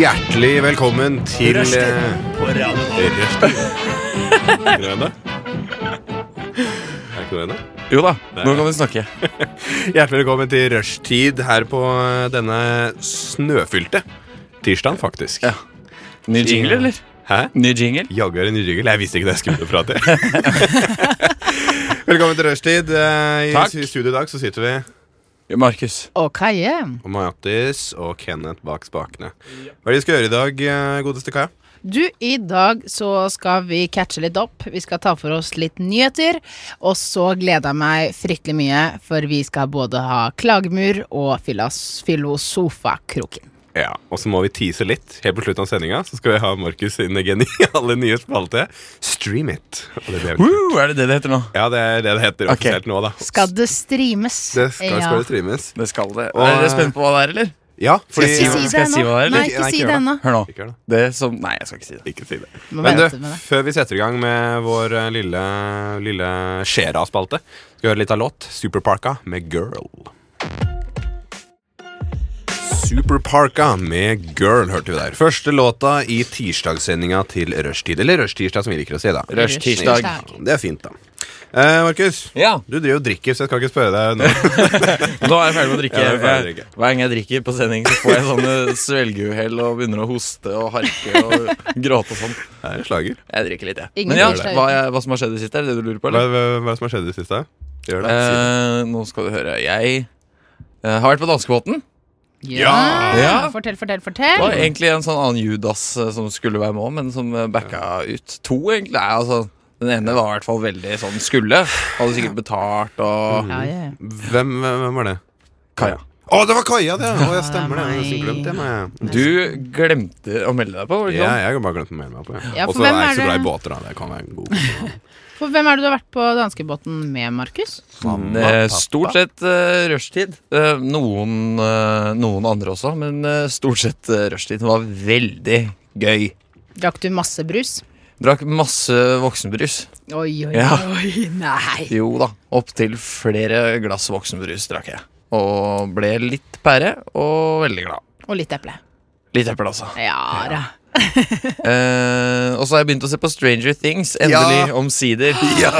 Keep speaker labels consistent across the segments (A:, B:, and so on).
A: Hjertelig velkommen til eh,
B: Er ikke det? Er ikke det?
C: Jo da, nå kan du snakke.
A: Hjertelig velkommen til rushtid her på eh, denne snøfylte tirsdagen, faktisk.
C: Ja. Ny jingle, eller?
A: Hæ?
C: Ny jingle?
A: Jaggu er det ny jingle. Jeg visste ikke det jeg skulle fra til. velkommen til rushtid. Eh, I
C: Takk.
A: s- studio i dag så sitter vi
C: Markus.
D: Ok,
A: og Mattis og Kenneth bak spakene. Hva er det vi skal gjøre i dag, eh, godeste Kaja?
D: du, i dag så skal vi catche litt opp. Vi skal ta for oss litt nyheter. Og så gleder jeg meg fryktelig mye, for vi skal både ha klagemur og filas- filosofakroken.
A: Ja, Og så må vi tease litt. Helt på slutten av sendinga skal vi ha Markus sin geniale nye spalte. Stream it. Og det blir-
C: Woo, er det det det heter nå?
A: Ja, det er det det heter
C: Ok.
A: offisielt nå, da.
D: Skal det streames?
A: Det skal, skal
D: Ja.
A: det streames.
C: Det skal det.
A: Og-
C: er dere spent på hva det er, eller?
A: Ja, fordi
C: Skal
D: Ikke si
C: Skal
D: det
C: jeg si hva det er,
D: ennå. Nei,
C: eller?
D: ikke
A: Nei,
D: si
A: ikke
D: det
A: gjør
D: ennå.
C: Hør nå.
A: Ikke gjør det.
C: Det som Nei, jeg skal ikke si det.
A: Ikke si det.
D: Må
A: Men du,
D: vente med det.
A: før vi setter i gang med vår eh, lille, lille Skjera-spalte, skal vi høre litt av låt. Superparka med 'Girl'. Superparka med 'Girl' hørte vi der. Første låta i tirsdagssendinga til Rushtid. Eller Rushtirsdag, som vi liker å si, da.
C: Rush
D: Rushtirsdag.
C: tirsdag.
A: Det er fint, da. Eh, Markus,
C: Ja,
A: du driver og drikker, så jeg skal ikke spørre deg nå.
C: nå er jeg ferdig med å drikke.
A: Ja, du er ferdig med å
C: Jeg- Hver gang jeg drikker på sending, så får jeg sånne svelgeuhell og begynner å hoste og harke og gråte og sånn.
A: Det er en slager.
C: Jeg drikker litt, jeg.
D: Ingen
C: Men ja,
D: tirsdag uten.
C: hva, jeg, hva som har skjedd i det siste? Er det det du lurer på?
A: Hva, hva,
C: Eller?
A: hva er det som har skjedd i det siste? Gjør det.
C: Eh, nå skal du høre. Jeg eh, har vært på danskebåten.
D: Ja.
C: Ja.
D: Fortell, fortell,
C: Det
D: fortell.
C: var egentlig en sånn annen Judas eh, som skulle være med òg, men som eh, backa ut. To, egentlig. Nei, altså, den ene var i hvert fall veldig sånn skulle. Hadde sikkert betalt
A: Mm.
C: og
D: Ja, ja.
A: Hvem, hvem hvem var det?
C: Kaja.
A: Å, det var Kaja, det! Å, jeg stemmer det.
D: Ja,
A: Jeg har nesten
D: nei.
A: glemt det. men jeg-
C: Du glemte å melde deg på, var det
A: Ja,
C: ikke sånn? Mm. sant?
A: jeg har bare glemt å melde meg på.
D: Ja,
A: Og
D: for
A: så er
D: hvem
A: jeg
D: er
A: ikke så glad i
D: det-
A: båter, da. Det kan være en god kombinasjon.
D: For hvem er det du har vært på danskebåten med, Markus?
C: Mm, eh, Stort sett uh, rushtid. Eh, noen, eh, noen andre også, men eh, stort sett uh, rushtid. Det var veldig gøy.
D: Drakk du masse brus?
C: Drakk masse voksenbrus.
D: Oi, oi,
C: Ja.
D: oi. Nei.
C: Jo da, opptil flere glass voksenbrus drakk jeg. Og ble litt pære og veldig glad.
D: Og litt eple.
C: Litt eple, altså.
D: Ja da.
C: Eh, og så har jeg begynt å se på Stranger Things. Endelig, omsider. Ja.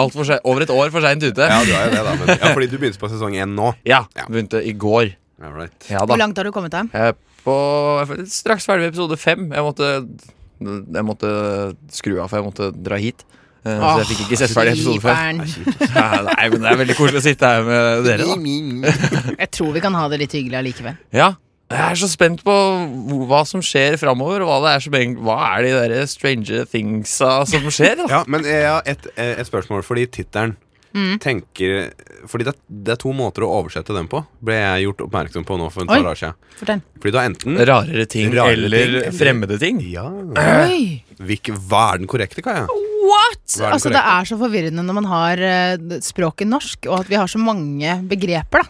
C: alt for se- Over et år for seint ute.
A: Ja,
C: Ja.
A: du er jo det, da. Men, ja, fordi du begynte på sesong én nå. Ja.
C: Begynte i går.
A: All right.
C: Ja
D: Hvor
C: da.
D: langt har du kommet da?
C: Jeg er på jeg er straks ferdig med episode fem. Jeg måtte, jeg måtte skru av, for jeg måtte dra hit. Eh, så jeg fikk ikke sett ferdig episode fem.
D: Fiberen.
C: Nei, men det er veldig koselig å sitte her med dere, da.
D: Jeg tror vi kan ha det litt hyggelig allikevel.
C: Ja. Jeg er så spent på hvo- hva som skjer framover, og hva, det er som, egentlig- hva er de der Stranger Thingsa som skjer? da?
A: Ja, men jeg har et, eh, et spørsmål, fordi tittelen
D: Mm.
A: tenker Fordi det, det er to måter å oversette den på, ble jeg gjort oppmerksom på nå for en
D: Oi.
A: par år siden.
D: Fortell.
A: Fordi du har enten
C: Rarere ting
A: Rarere ting,
C: eller
A: eller-
C: fremmede ting?
A: Ja
D: Oi!
A: Hvilke, Hva er den korrekte, Kaja?
D: What?!
A: Hva er den
D: altså, det er så forvirrende når man har eh, språket norsk, og at vi har så mange begreper,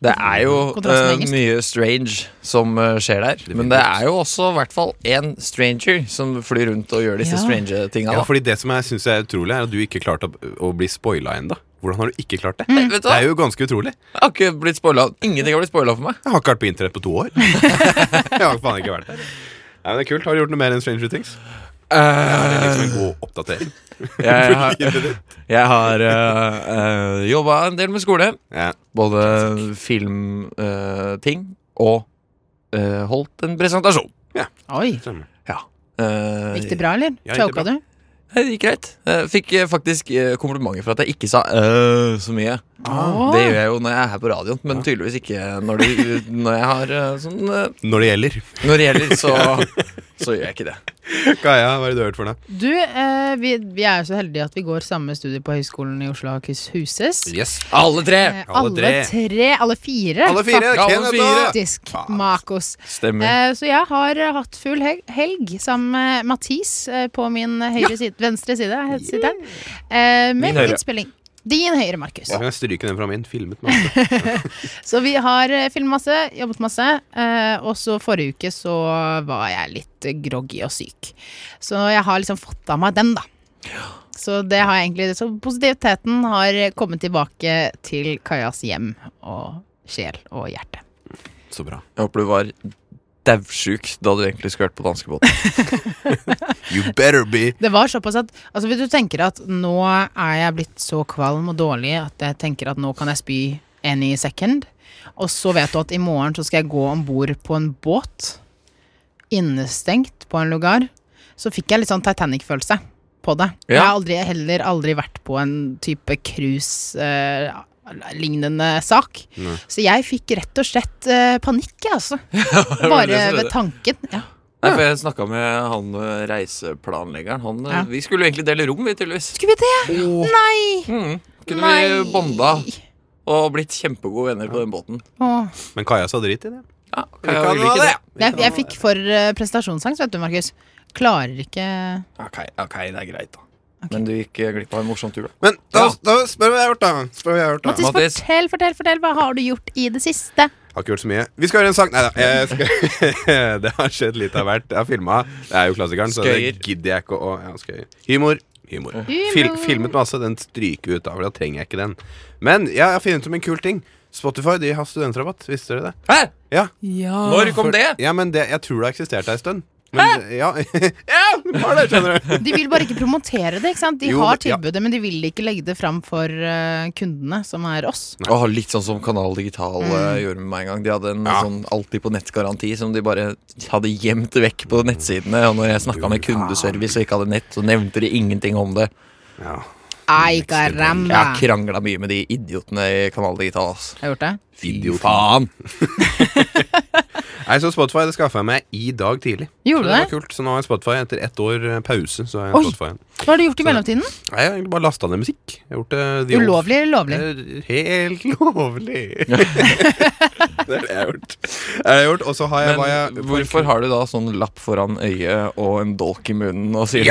D: da.
C: Det er jo
D: Kontrasten
C: eh,
D: engelsk.
C: mye strange som eh, skjer der. Men det er jo også i hvert fall én stranger som flyr rundt og gjør disse
D: Ja.
C: strange tinga.
A: Ja,
C: da.
A: fordi Det som jeg syns er utrolig, er at du ikke klarte å, å bli spoila ennå. Hvordan har du ikke klart det?
C: Vet du
A: Det
C: hva?
A: er jo ganske utrolig.
C: Jeg har ikke blitt spoila. Ingenting har blitt spoila for meg.
A: Jeg har ikke vært på internett på to år. jeg har faen ikke vært der. Nei, men det er kult. Har du gjort noe mer enn Stranger Things? Det er liksom en god oppdatering.
C: Jeg har,
A: Videre.
C: jeg har eh, eh, jobba en del med skole.
A: ja.
C: Både filmting og eh, holdt en presentasjon.
D: Oi.
A: stemmer.
C: Ja. Eh,
D: Gikk det bra, eller?
A: Ja, gikk det
D: Choka du?
C: Det gikk greit. Eh, Fikk eh, faktisk eh, komplimenter for at jeg ikke sa øh så mye.
A: Ah.
D: Åh.
C: Det gjør jeg jo når jeg er her på radioen, men tydeligvis ikke når, det, når jeg har eh, sånn eh,
A: Når det gjelder.
C: Når det gjelder, så, så gjør jeg ikke det.
A: Kaja, hva er det du har hørt for noe?
D: Du, eh, vi, vi er jo så heldige at vi går samme studie på Høgskolen i Oslo og Akershus.
A: Yes.
C: Alle tre!
D: Eh,
A: alle
D: alle tre. Alle fire.
A: Alle fire.
C: Alle
A: Kenneth
C: fire.
A: og
D: Faktisk. Makos.
C: Stemmer.
D: Eh, så jeg har eh, hatt full hel- helg sammen med Mathis eh, på min eh, høyre side, venstre side. he- Sitter han. Eh,
C: Min
D: med
C: høyre.
D: innspilling. Din høyre, Markus.
A: Jeg kan stryke den fra min. Filmet masse.
D: Så vi har eh, filmet masse, jobbet masse. Eh, og så forrige uke så var jeg litt eh, groggy og syk. Så jeg har liksom fått av meg den, da. Så det har jeg egentlig Så positiviteten har eh, kommet tilbake til Kajas hjem og sjel og hjerte.
A: Så bra.
C: Jeg håper du var daudsjuk da du egentlig skulle vært på danskebåten.
A: You better be!
D: Det var såpass at altså Hvis du tenker at nå er jeg blitt så kvalm og dårlig at jeg tenker at nå kan jeg spy any second, og så vet du at i morgen så skal jeg gå om bord på en båt, innestengt på en lugar, så fikk jeg litt sånn Titanic-følelse på det.
C: Ja.
D: Jeg har aldri, heller aldri vært på en type cruise-lignende sak.
A: Nei.
D: Så jeg fikk rett og slett eh, panikk, jeg, altså. Bare ved tanken. Ja.
C: Nei, for Jeg snakka med han eh, reiseplanleggeren. Han, eh,
D: Ja.
C: Vi skulle jo egentlig dele rom, vi, tydeligvis.
D: Skulle vi det? Nei!
C: Mm. Kunne
D: Nei.
C: vi bonda og blitt kjempegode venner på den båten.
D: Åh.
A: Men Kaja sa drit i det.
C: Ja,
A: Vi
C: Kaja
A: kan
C: ville
A: ha
C: ikke det.
D: Jeg, jeg fikk for eh, prestasjonsangst, vet du, Markus. Klarer ikke
C: Ok, ok, det er greit, da. Men du gikk eh, glipp av en morsom tur, da.
A: Men
C: da-
A: spør hva jeg har gjort, da. Spør hva jeg har gjort,
D: Mattis,
C: Mattis.
D: fortell, fortell, fortell. Hva har du gjort i det siste?
A: Har ikke gjort så mye. Vi skal høre en sang. Nei da. jeg Skal... det har skjedd litt av hvert. Jeg har filma. Det er jo klassikeren, så
C: Skøyer.
A: det gidder jeg ikke å ja, skøyer. Humor. Humor. Fil filmet masse. Den stryker vi ut av, for da trenger jeg ikke den. Men ja, jeg har funnet ut om en kul ting. Spotify de har studentrabatt. Visste dere det?
C: Hæ?
A: Ja.
D: Ja.
C: Når kom det?
A: Ja, men det, Jeg tror det har eksistert ei stund. Men, ja, ja, det var det, skjønner du.
D: De vil bare ikke promotere det. ikke sant? De
A: Jo,
D: har
A: men- ja.
D: tilbudet, men de vil ikke legge det fram for eh, kundene, som er oss.
C: Åh, litt sånn som Kanal Digital eh, gjorde med meg en gang. De hadde en
A: Ja.
C: sånn alltid på nett-garanti som de bare hadde gjemt vekk på nettsidene. Og når jeg snakka med kundeservice og ikke hadde nett, så nevnte de ingenting om det.
A: Ja.
D: Ai,
C: Jeg
D: caramba.
C: har
D: Jeg
C: krangla mye med de idiotene i Kanal Digital. ass.
D: har gjort det.
C: Fy
A: Idioter.
C: faen!
A: Nei, så Spotify det skaffa jeg meg i dag tidlig.
D: Gjorde
A: Så det var
D: du
A: kult, Så nå har jeg Spotify etter ett år eh, pause. Så har jeg
D: Oi.
A: Spotify igjen.
D: Hva har du gjort i mellomtiden?
A: Nei, Jeg har egentlig bare lasta ned musikk. Jeg har gjort eh, det the old-
D: Ulovlig eller lovlig?
A: Det er Helt lovlig. det er det jeg har gjort. Det har jeg gjort, Og så har jeg,
C: Men
A: hva jeg
C: hvorfor har du da sånn lapp foran øyet og en dolk i munnen og sier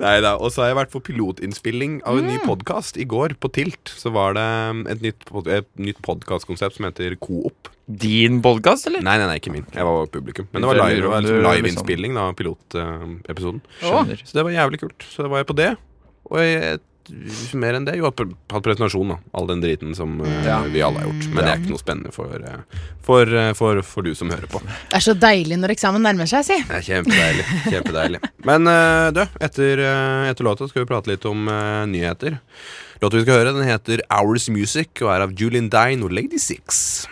A: Nei da. Og så har jeg vært for pilotinnspilling av en ny
C: Mm.
A: podkast. I går, på Tilt, så var det um, et nytt, pod- et nytt podkastkonsept som heter Coop.
C: Din podkast, eller?
A: Nei, nei, nei, ikke min. Jeg var publikum. Men det var
C: Litt
A: live- det var
C: lurer om du
A: liveinnspilling,
C: liksom-
A: live innspilling, da, pilotepisoden.
C: Skjønner.
A: Så det var jævlig kult. Så da var jeg på det. Og jeg, mer enn det, jo hatt pre- hatt presentasjon, da. All den driten som eh,
C: Ja.
A: vi alle har gjort. Men det er ikke noe spennende for, eh, for, eh, for, for du som hører på. Det
D: Det er så deilig når eksamen nærmer seg, si.
A: er kjempedeilig. kjempedeilig. Men eh, du, etter, eh, etter låta skal vi prate litt om eh, nyheter. Låta vi skal høre, den heter Hours Music og er av Julian Dine og Lady Six.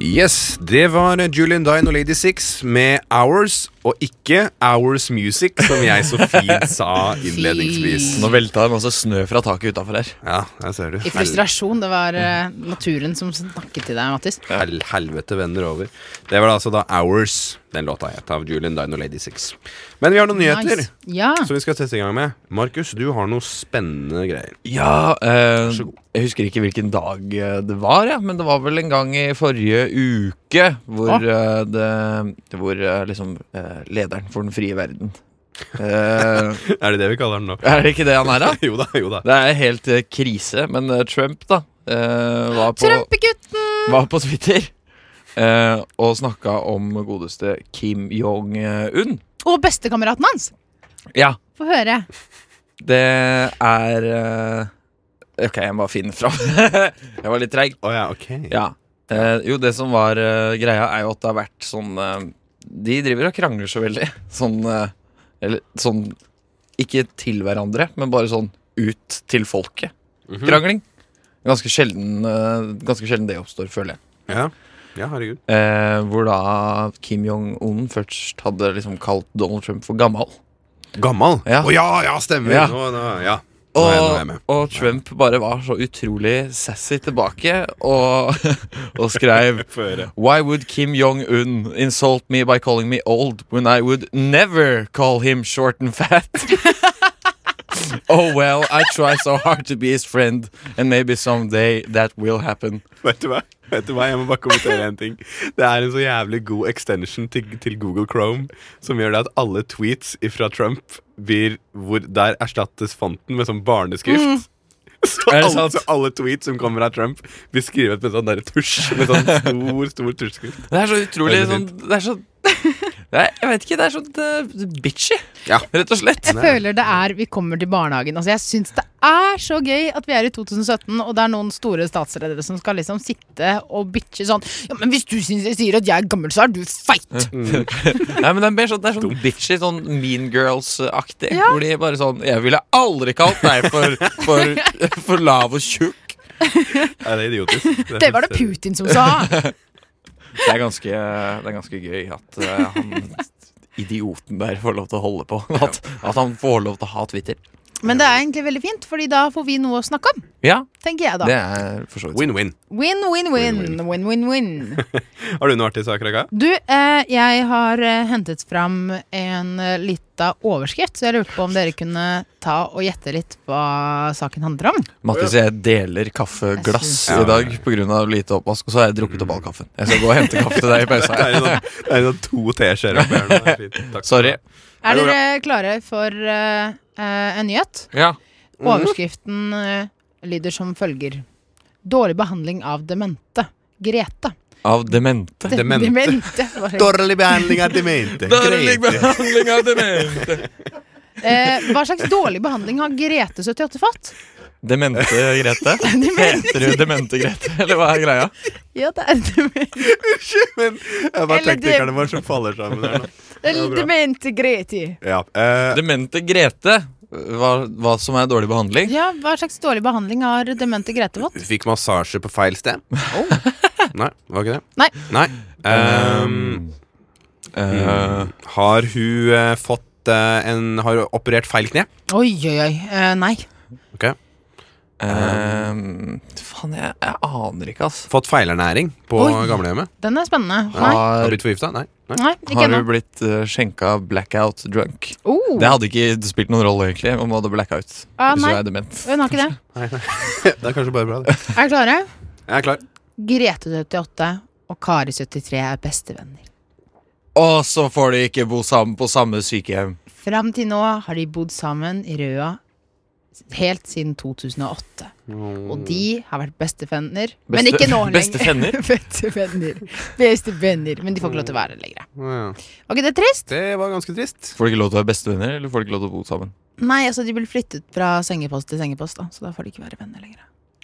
A: Yes, det var Julian Dine og Lady Six med Hours, og ikke Hours Music, som jeg så fint sa innledningsvis.
C: Nå velta det masse snø fra taket utafor her.
A: Ja, der ser du.
D: I frustrasjon. Det var eh,
A: Mm.
D: naturen som snakket til deg, Mattis.
A: Hel helvete vender over. Det var da altså da Hours, den låta het, av Julian Dine og Lady Six. Men vi har noen nyheter
D: Nice. Ah. Ja.
A: som vi skal sette i gang med. Markus, du har noe spennende greier.
C: Ja, eh, jeg husker ikke hvilken dag eh, det var, ja, men det var vel en gang i forrige uke hvor, eh, det, hvor eh, liksom eh, lederen for den frie verden eh,
A: Er det det vi kaller den nå?
C: Er det ikke det han er, da?
A: jo da, jo da.
C: Det er helt eh, krise, men eh, Trump, da, eh, var på
D: Trumpegutten!
C: var på Twitter eh, og snakka om godeste Kim Jong-un.
D: Og bestekameraten hans!
C: Ja,
D: Få høre.
C: det er eh, Ok, jeg må bare finne fram. jeg var litt treig.
A: Å ja, ok.
C: Ja. Eh, jo, det som var eh, greia, er jo at det har vært sånn eh, De driver og krangler så veldig. Sånn eh, Eller sånn Ikke til hverandre, men bare sånn ut til folket.
A: Mhm.
C: Krangling. Ganske sjelden, eh, ganske sjelden det oppstår, føler jeg.
A: Ja. ja, herregud.
C: Eh, hvor da Kim Jong-un først hadde liksom kalt Donald Trump for gammel.
A: Gammel? Å ja.
C: Ja.
A: ja, stemmer.
C: Ja.
A: Nå, nå, ja. nå, er jeg, nå er jeg
C: Og,
A: med.
C: og Trump bare var så utrolig sassy tilbake og, og skrev
A: Få høre.
C: Why would Kim Jong-un insult me by calling me old when I would never call him short and fat? oh well, I try so hard to be his friend, and maybe someday that will happen.
A: Vet du hva? Vet du hva? Jeg må bare kommentere en ting. Det er en så jævlig god extension til, til Google Chrome som gjør det at alle tweets fra Trump blir hvor der erstattes fonten med sånn barneskrift. Så,
C: Er det
A: alle,
C: sant?
A: så alle tweets som kommer av Trump, blir skrevet med sånn der tusj. Med sånn stor, stor tusjskrift.
C: Det er så utrolig
A: Veldig
C: sånn, Det er så Nei, jeg vet ikke, det er sånn eh, bitchy,
A: Ja.
C: rett og slett.
D: Jeg føler det er Vi kommer til barnehagen. Altså, jeg syns det er så gøy at vi er i 2017, og det er noen store statsledere som skal liksom sitte og bitche sånn Ja, men hvis du syns jeg sier at jeg er gammel, så er du feit!
C: Nei, men Det er mer sånn, det er sånn bitchy, sånn Mean Girls-aktig.
D: Ja.
C: Hvor de bare sånn Jeg ville aldri kalt deg for, for, for lav og tjukk.
A: Er det idiotisk? Det,
D: Det var det Putin som sa!
C: Det er ganske, det er ganske gøy at eh, han idioten der får lov til å holde på. At, at han får lov til å ha Twitter.
D: Men det er egentlig veldig fint, Fordi da får vi noe å snakke om,
C: Ja,
D: tenker jeg
C: det
D: da.
C: er for så vidt
A: Win-win.
D: Win, win, win. Win, win, win.
A: Har du noen artige saker, Aga?
D: Du, eh, jeg har eh, hentet fram en eh, lita overskrift, så jeg lurte på om dere kunne ta og gjette litt hva saken handler om.
C: Mattis, jeg deler kaffeglass i dag pga. lite oppvask, og så har jeg drukket opp all kaffen. Jeg skal gå og hente kaffe til deg i
A: Det
C: pausa.
A: er en sånn- det er en sånn to teskjeer oppi her nå. Det er fint. Takk.
C: Sorry.
D: Er
A: Det går
D: dere klare for eh, eh, en nyhet?
C: Ja.
D: Overskriften eh, lyder som følger. Dårlig behandling av demente. Grete.
C: Av demente.
D: De-
A: Demente.
D: demente var det.
A: Dårlig behandling av demente.
C: Dårlig
A: Greit.
C: behandling av demente.
D: Eh, hva slags dårlig behandling har Grete 78 fått?
C: Demente Grete? Heter du Demente Grete, eller hva er greia?
D: Ja, det er demente.
A: Men jeg bare
D: Eller
A: teknikerne våre som faller sammen her nå. var bra.
D: demente Grete.
A: Ja, eh,
C: Demente Grete, hva, hva som er dårlig behandling?
D: Ja, hva slags dårlig behandling har demente Grete fått?
A: Fikk massasje på feil sted. Nei, var ikke det?
D: Nei.
A: Nei. Ehm, Mm.
C: Eh,
A: har hun eh, fått eh, en Har hun operert feil kne?
D: Oi, oi, oi. Eh, nei.
A: Ok.
C: eh, faen, jeg, jeg aner ikke, ass.
A: Fått feilernæring på
D: Oi.
A: gamlehjemmet?
D: Den er spennende. Nei,
A: Har
C: Har,
A: blitt forgifta? Nei. Nei.
D: nei ikke
C: har
D: ennå.
C: du blitt eh, skjenka blackout drunk?
D: Oh.
C: Det hadde ikke spilt noen rolle, egentlig, om du hadde blackout.
D: Ah,
C: hvis du
D: nei.
C: er dement.
D: Hun har ikke det.
A: Det er kanskje bare bra, det.
D: Er dere klare?
A: Jeg er klar.
D: Grete 78 og Kari 73 er bestevenner.
C: Og så får de ikke bo sammen på samme sykehjem.
D: Fram til nå har de bodd sammen i Røa helt siden 2008. Og de har vært bestevenner. Men
C: Beste-
D: ikke nå lenger.
C: bestevenner?
D: bestevenner. Bestevenner. Men de får ikke lov til å være det lenger.
A: Mm, Ja.
D: Var ikke det trist?
A: Det var ganske trist.
C: Får de ikke lov til å være bestevenner, eller får de ikke lov til å bo sammen?
D: Nei, altså de blir flyttet fra sengepost til sengepost, da. Så da får de ikke være venner lenger.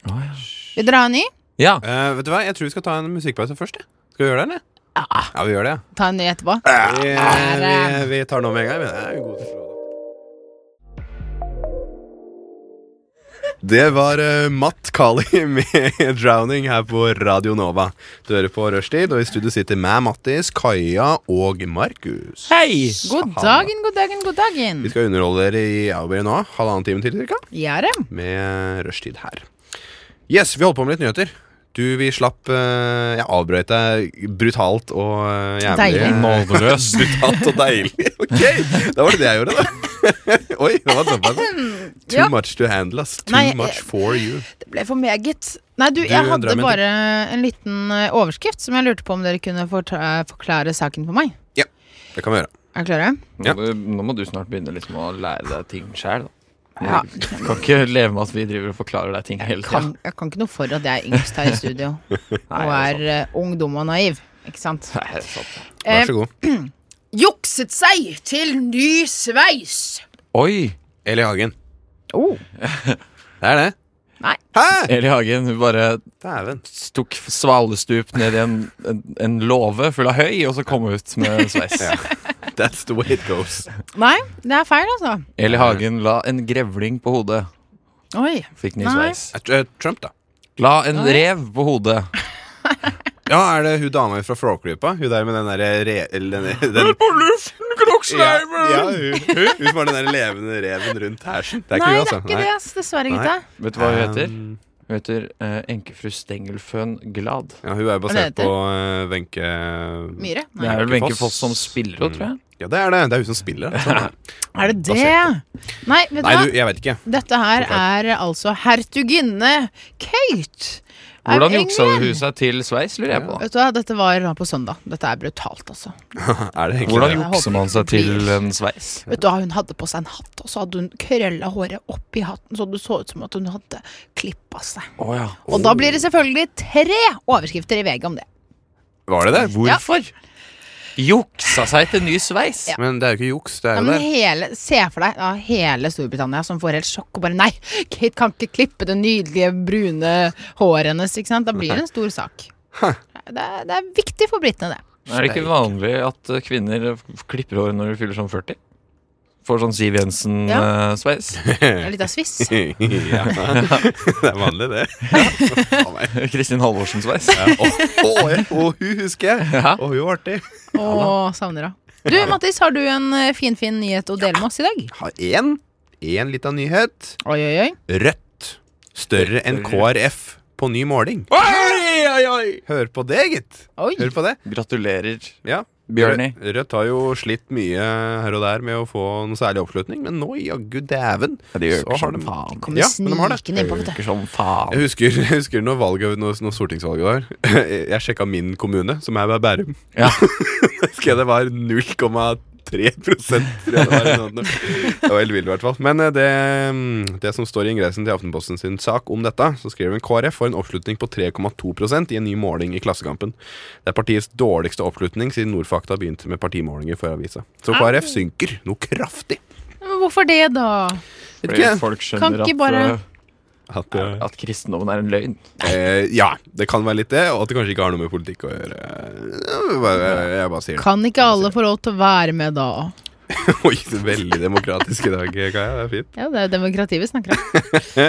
C: Oh, ja.
D: Vil dere ha en ny?
C: ja.
A: Eh, vet du hva, Jeg tror vi skal ta en musikkpause først. jeg. Skal vi gjøre det, eller? Ja, vi gjør det. ja.
D: Ta en ny etterpå.
A: Vi, vi, vi tar den om en gang. Men det er en god til å slå det. Det var eh, Matt Kali med 'Drowning' her på Radio Nova. Du hører på Rushtid, og i studio sitter meg, Mattis, Kaja og Markus.
C: Hei!
D: God
A: Aha.
D: dagen, god dagen, god dagen.
A: Vi skal underholde dere i ja, hva blir det nå, halvannen time til cirka,
D: Ja, det.
A: med rushtid her. Yes, vi holdt på med litt nyheter. Du, vi slapp eh, Jeg avbrøt deg brutalt og eh, jævlig.
D: Deilig.
C: Nådeløs.
A: Brutalt og deilig. Ok, da var det det jeg gjorde, da. Oi, det var såpass. Too
D: Ja.
A: much to handle, ass. Too
D: Nei, eh,
A: much for you.
D: Det ble for meget. Nei, du,
A: Du,
D: jeg
A: drar
D: hadde
A: med
D: bare en liten eh, overskrift som jeg lurte på om dere kunne forta- forklare saken for meg.
A: Det kan vi gjøre.
D: Er dere klare?
A: Ja.
C: Nå, må du- nå må du snart begynne liksom å lære deg ting sjæl.
D: Ja.
C: Kan ikke leve med at vi driver og forklarer deg ting hele
D: Kan,
C: tida.
D: jeg kan ikke noe for at jeg er yngst her i studio og er eh, ung, dum og naiv. Ikke sant? Eh,
A: Vær så god.
D: jukset seg til ny sveis.
C: Oi!
A: Eli Hagen.
D: Oh.
A: Det er det.
D: Nei.
A: Hæ?
C: Eli Hagen hun bare
A: Dæven.
C: stukk svalestup ned i en, en, en låve full av høy, og så kom hun ut med sveis.
A: That's the way it goes.
D: Nei, det er feil, altså.
C: Eli Hagen la en grevling på hodet.
D: Oi.
C: Fikk ny
D: Nei.
C: sveis.
A: Eh, tr- eh, Trump, da.
C: La en
D: Oi.
C: rev på hodet.
A: Ja, er det hun dama fra Flåklypa? Hun der med den derre re... Eller den, den
C: På luften,
A: Ja, ja hun, hun, hun som har den der levende reven rundt hersen. Det er ikke hun,
D: Nei, det
A: altså.
D: er ikke det, ass. Dessverre,
A: Nei.
D: gutta.
C: Vet du hva hun heter?
A: Um,
C: Eh, Hun heter eh, enkefru Stengelføn Glad.
A: ja, hun er jo
D: Hva er det
A: basert
D: det
A: på eh, Wenche
D: Myhre?
C: Det
D: Nei.
C: er vel
A: Wenche
C: Wenche
A: Foss.
C: Foss
A: Mm.
C: som spiller henne, tror jeg.
A: Ja, det er det. Det er hun som spiller. Altså.
D: Er det
A: Basert
D: det? Nei, vet du
A: Nei,
D: hva?
A: du, jeg vet ikke.
D: Dette her er altså hertuginne Kate. av
C: Hvordan juksa
D: England.
C: hun seg til sveis, lurer jeg på. da
D: Vet du hva, Dette var nå på søndag. Dette er brutalt, altså.
A: Er det egentlig det?
C: Hvordan
D: Jeg håper
C: jukser man seg
D: det blir-
C: til en sveis?
D: Vet du hva, Hun hadde på seg en hatt, og så hadde hun krølla håret opp i hatten, så det så ut som at hun hadde klippa seg.
C: Å ja.
D: Og da blir det selvfølgelig tre overskrifter i VG om det.
A: Var det det?
D: Ja.
C: Hvorfor? Mm. Juksa seg til ny sveis.
A: Men det er jo ikke juks. Det er
D: Ja,
A: jo der.
D: men hele, se for deg ja, hele Storbritannia som får helt sjokk og bare Nei, Kate kan ikke klippe det nydelige brune håret hennes. Ikke sant? Da blir det en stor sak. Det er, det er viktig for britene, det.
C: Er det ikke vanlig at eh, kvinner f- klipper hår når de fyller sånn 40? Får sånn Siv eh, Jensen-sveis.
D: Det er Litt av sviss.
A: ja. Det er vanlig, det. Ja. faen meg.
C: Kristin Halvorsen-sveis.
A: Ja. Åh, åh, ja. Åh, hun husker jeg!
C: Ja.
A: Åh, hun var artig.
D: Å, savner henne. Du, Mattis, har du en eh, fin, fin nyhet å dele med oss i dag?
A: Har én. Én lita nyhet.
D: Oi, oi, oi.
A: Rødt. Større enn KrF på ny måling.
C: Oi, oi, oi!
A: Hør på det, gitt.
D: Oi.
A: Hør på det.
C: Gratulerer,
A: Ja.
C: Bjørni.
A: Rødt- Rødt har jo slitt mye her og der med å få noen særlig oppslutning, men nå jaggu dæven
C: de øker
A: så har
C: som
A: de-
C: sånn faen.
D: Kommer
A: Ja, men de har det.
D: snikende innpå, vet du.
C: Øker som sånn faen.
A: Jeg husker, jeg husker når, valget, når, når stortingsvalget var. Jeg sjekka min kommune, som er Bærum.
C: Ja.
A: Husker jeg det var 0,3 tror jeg det var. eller noe sånt. Det var helt vilt, i hvert fall. Men eh, det, mm, det som står i ingressen til Aftenposten sin sak om dette, så skriver hun KrF får en oppslutning på 3,2 i en ny måling i Klassekampen. Det er partiets dårligste oppslutning siden Nordfakta begynte med partimålinger for avisa. Så KrF synker noe kraftig.
D: Men hvorfor det, da?
A: Vet
C: Fordi
A: ikke.
C: folk skjønner
D: Kan ikke
C: at,
D: bare-
C: eh,
A: At, eh,
C: at kristendommen er en løgn.
A: Eh, ja, det kan være litt det, og at det kanskje ikke har noe med politikk å gjøre. Eh, Jeg bare, jeg bare sier det.
D: Kan ikke alle få lov til å være med da?
A: Oi, det er veldig demokratisk i dag, Kaja. Det er fint.
D: Ja, det er jo demokrati vi snakker om.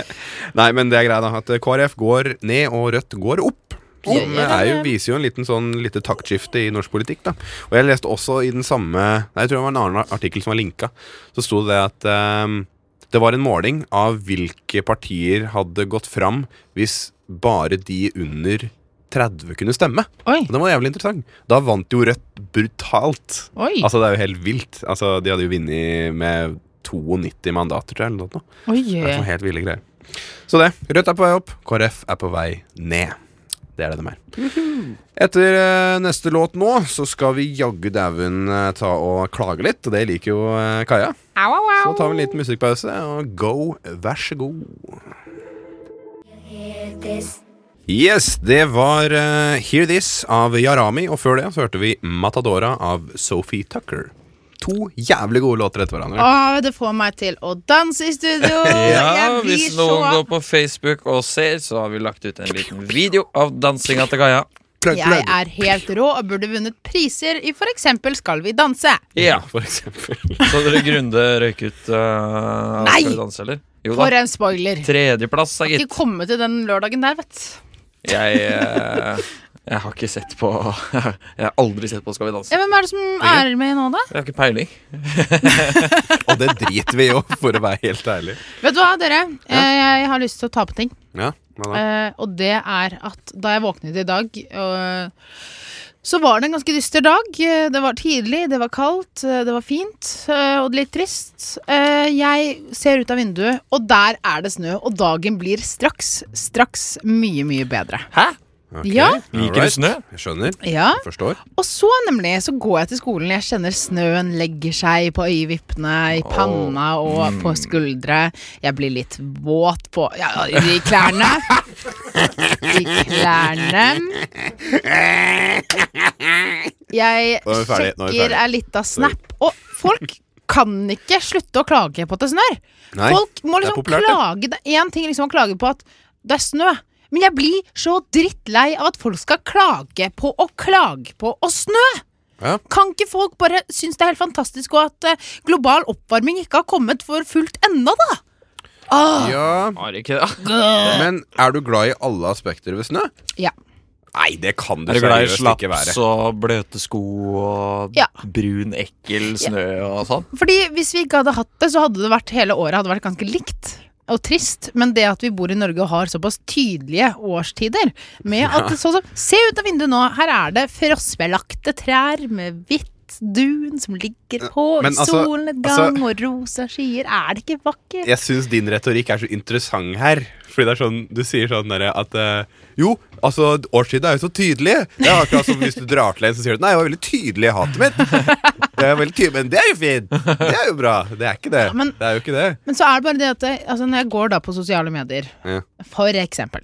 A: Nei, men det er greia da at eh, KrF går ned, og Rødt går opp. Som eh,
D: Ja, ja,
A: er jo,
D: ja.
A: viser jo en liten sånn lite taktskifte i norsk politikk, da. Og jeg leste også i den samme Nei, jeg tror det var en annen artikkel som var linka. Så sto det at ehm, det var en måling av hvilke partier hadde gått fram hvis bare de under 30 kunne stemme.
D: Oi,
A: Og den var jævlig interessant. Da vant jo Rødt brutalt.
D: oi,
A: Altså, det er jo helt vilt. Altså, de hadde jo vunnet med 92 mandater, tror jeg, eller noe. sånt.
D: oi.
A: Det er sånn helt ville greier. Så det. Rødt er på vei opp, KrF er på vei ned. Det er det de er. Etter eh, neste låt nå, så skal vi jaggu dauen eh, ta og klage litt, og det liker jo eh, Kaja.
D: Au, au, au.
A: Så tar vi en liten musikkpause, og go, vær så god. Yes, det var eh, Hear This av Yarami, og før det så hørte vi Matadora av Sophie Tucker. To jævlig gode låter etter hverandre.
D: Å, Ah, det får meg til å danse i studio!
C: Ja,
D: jeg blir
C: hvis noen
D: så
C: går på Facebook og ser, så har vi lagt ut en liten video av dansinga til Kaja.
A: Plug,
D: Jeg
A: plug.
D: er helt rå og burde vunnet priser i f.eks. Skal vi danse?
C: Ja,
A: For eksempel.
C: Så dere Grunde røyk ut uh,
D: Nei!
C: Skal vi danse, eller? Jo
D: For
C: da.
D: en spoiler.
C: Tredjeplass, da,
D: Ikke
C: gitt.
D: komme til den lørdagen der, vet du.
C: Jeg, eh, jeg har ikke sett på Jeg har aldri sett på Skal vi danse.
D: Ja, hvem er det som er med nå, da?
C: Jeg har ikke peiling.
A: Og det driter vi jo, for å være helt ærlig.
D: Vet du hva, dere? Eh, Jeg har lyst til å ta på ting.
A: Ja, hva da?
D: Eh, og det er at da jeg våknet i dag og- så var det en ganske dyster dag. Eh, Det var tidlig, det var kaldt, eh, det var fint eh, og litt trist. Eh, Jeg ser ut av vinduet, og der er det snø. Og dagen blir straks, straks mye, mye bedre.
C: Hæ?
A: Ok,
D: ja.
A: alright.
C: Liker du snø?
A: Jeg skjønner.
D: Ja,
A: Jeg forstår.
D: Og så nemlig så går jeg til skolen. Jeg kjenner snøen legger seg på øyevippene, i panna og
A: Mm.
D: på skuldre. Jeg blir litt våt på Ja, i klærne. I klærne. Jeg
A: Nå er vi ferdig, nå er vi
D: sjekker
A: ferdig.
D: ei lita snap, og folk kan ikke slutte å klage på at det snør.
A: Nei,
D: folk må
A: det er
D: liksom
A: populært, det.
D: klage. Det er én ting liksom å klage på at det er snø, men jeg blir så drittlei av at folk skal klage på å klage på å snø.
A: Ja.
D: Kan ikke folk bare synes det er helt fantastisk og at eh, global oppvarming ikke har kommet for fullt ennå, da? Åh,
A: ja.
C: Har ikke det.
A: Men er du glad i alle aspekter ved snø?
D: ja.
A: Nei, det kan du
C: Er du glad i
A: seriøst ikke
C: slaps
A: være.
C: og bløte sko og
D: Ja.
C: brun, ekkel snø og sånn?
D: Fordi hvis vi ikke hadde hatt det, så hadde det vært hele året hadde vært ganske likt. Og trist, men det at vi bor i Norge og har såpass tydelige årstider med at sånn som, Se ut av vinduet nå! Her er det frostbelagte trær med hvitt dun som ligger på
A: Men
D: i
A: altså-
D: solnedgang og rosa skyer. Er det ikke vakkert?
A: jeg syns din retorikk er så interessant her. Fordi det er sånn, Du sier sånn derre at eh, Jo, altså, årstidene er jo så tydelige. Det er akkurat som hvis du drar til en så sier du Nei, jeg var veldig tydelig i hatet mitt. Det er veldig tydelig, Men det er jo fint. Det er jo bra. Det er ikke det.
D: men-
A: det er jo ikke det.
D: Men så er det bare det at det, altså, når jeg går da på sosiale medier,
A: Ja.
D: for eksempel,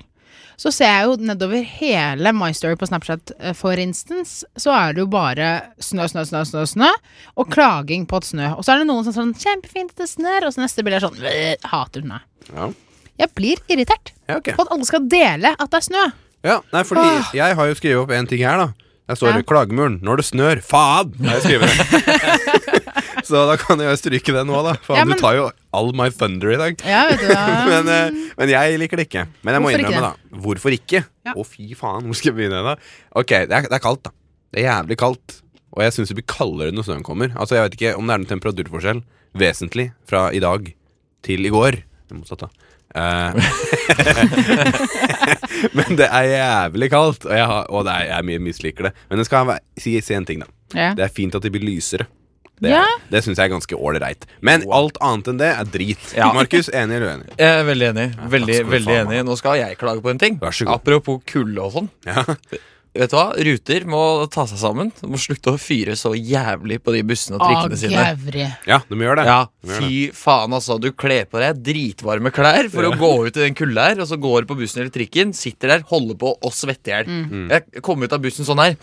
D: så ser jeg jo nedover hele My Story på Snapchat, eh, for instance, så er det jo bare snø, snø, snø, snø, snø, og klaging på at snø. Og så er det noen som er sånn 'kjempefint at det snør', og så neste bilde er sånn «Bleh, 'hater snø'.
A: Ja.
D: Jeg blir irritert
A: Ja, ok.
D: på at alle skal dele at det er snø.
A: Ja, nei, fordi jeg har jo skrevet opp en ting her, da. Jeg står
D: Ah. Ja.
A: i klagemuren. 'Når det snør, faen!' har jeg skrevet. så da kan jeg jo stryke det nå, da. Faen,
D: Ja, men-
A: du tar jo all my thunder i dag.
D: Ja, vet du hva.
A: Men, eh, men jeg liker det ikke. Men jeg må
D: Um. Hvorfor ikke
A: innrømme, da. Hvorfor ikke?
D: Ja.
A: Å, fy faen, hvor skal jeg begynne? da? Ok, det er, det er kaldt, da. Det er jævlig kaldt. Og jeg syns det blir kaldere når snøen kommer. Altså, Jeg vet ikke om det er noen temperaturforskjell vesentlig fra i dag til i går. Det motsatte. Eh, men det er jævlig kaldt, og jeg, har, og det er, jeg mye misliker det. Men jeg skal være- si, si en ting, da.
D: Ja.
A: Det er fint at de blir lysere. Det,
D: Ja.
A: det syns jeg er ganske ålreit. Men alt annet enn det er drit.
C: Ja.
A: Markus, enig eller uenig?
C: Jeg er veldig enig. Veldig,
A: takk skal du
C: veldig
A: faen
C: enig Nå skal jeg klage på en ting.
A: Vær så god.
C: Apropos kulde og sånn.
A: Ja.
C: Vet du hva? Ruter må ta seg sammen. De må slutte å fyre så jævlig på de bussene og
D: Å,
C: trikkene sine.
D: gævri.
A: Ja, de gjør det.
C: Ja,
A: De gjør det.
C: Fy faen, altså. Du kler på deg dritvarme klær for å gå ut i den kulda her, og så går du på bussen eller trikken, sitter der, holder på og svetter i hjel.
A: Mm.
C: Jeg kom ut av bussen sånn her.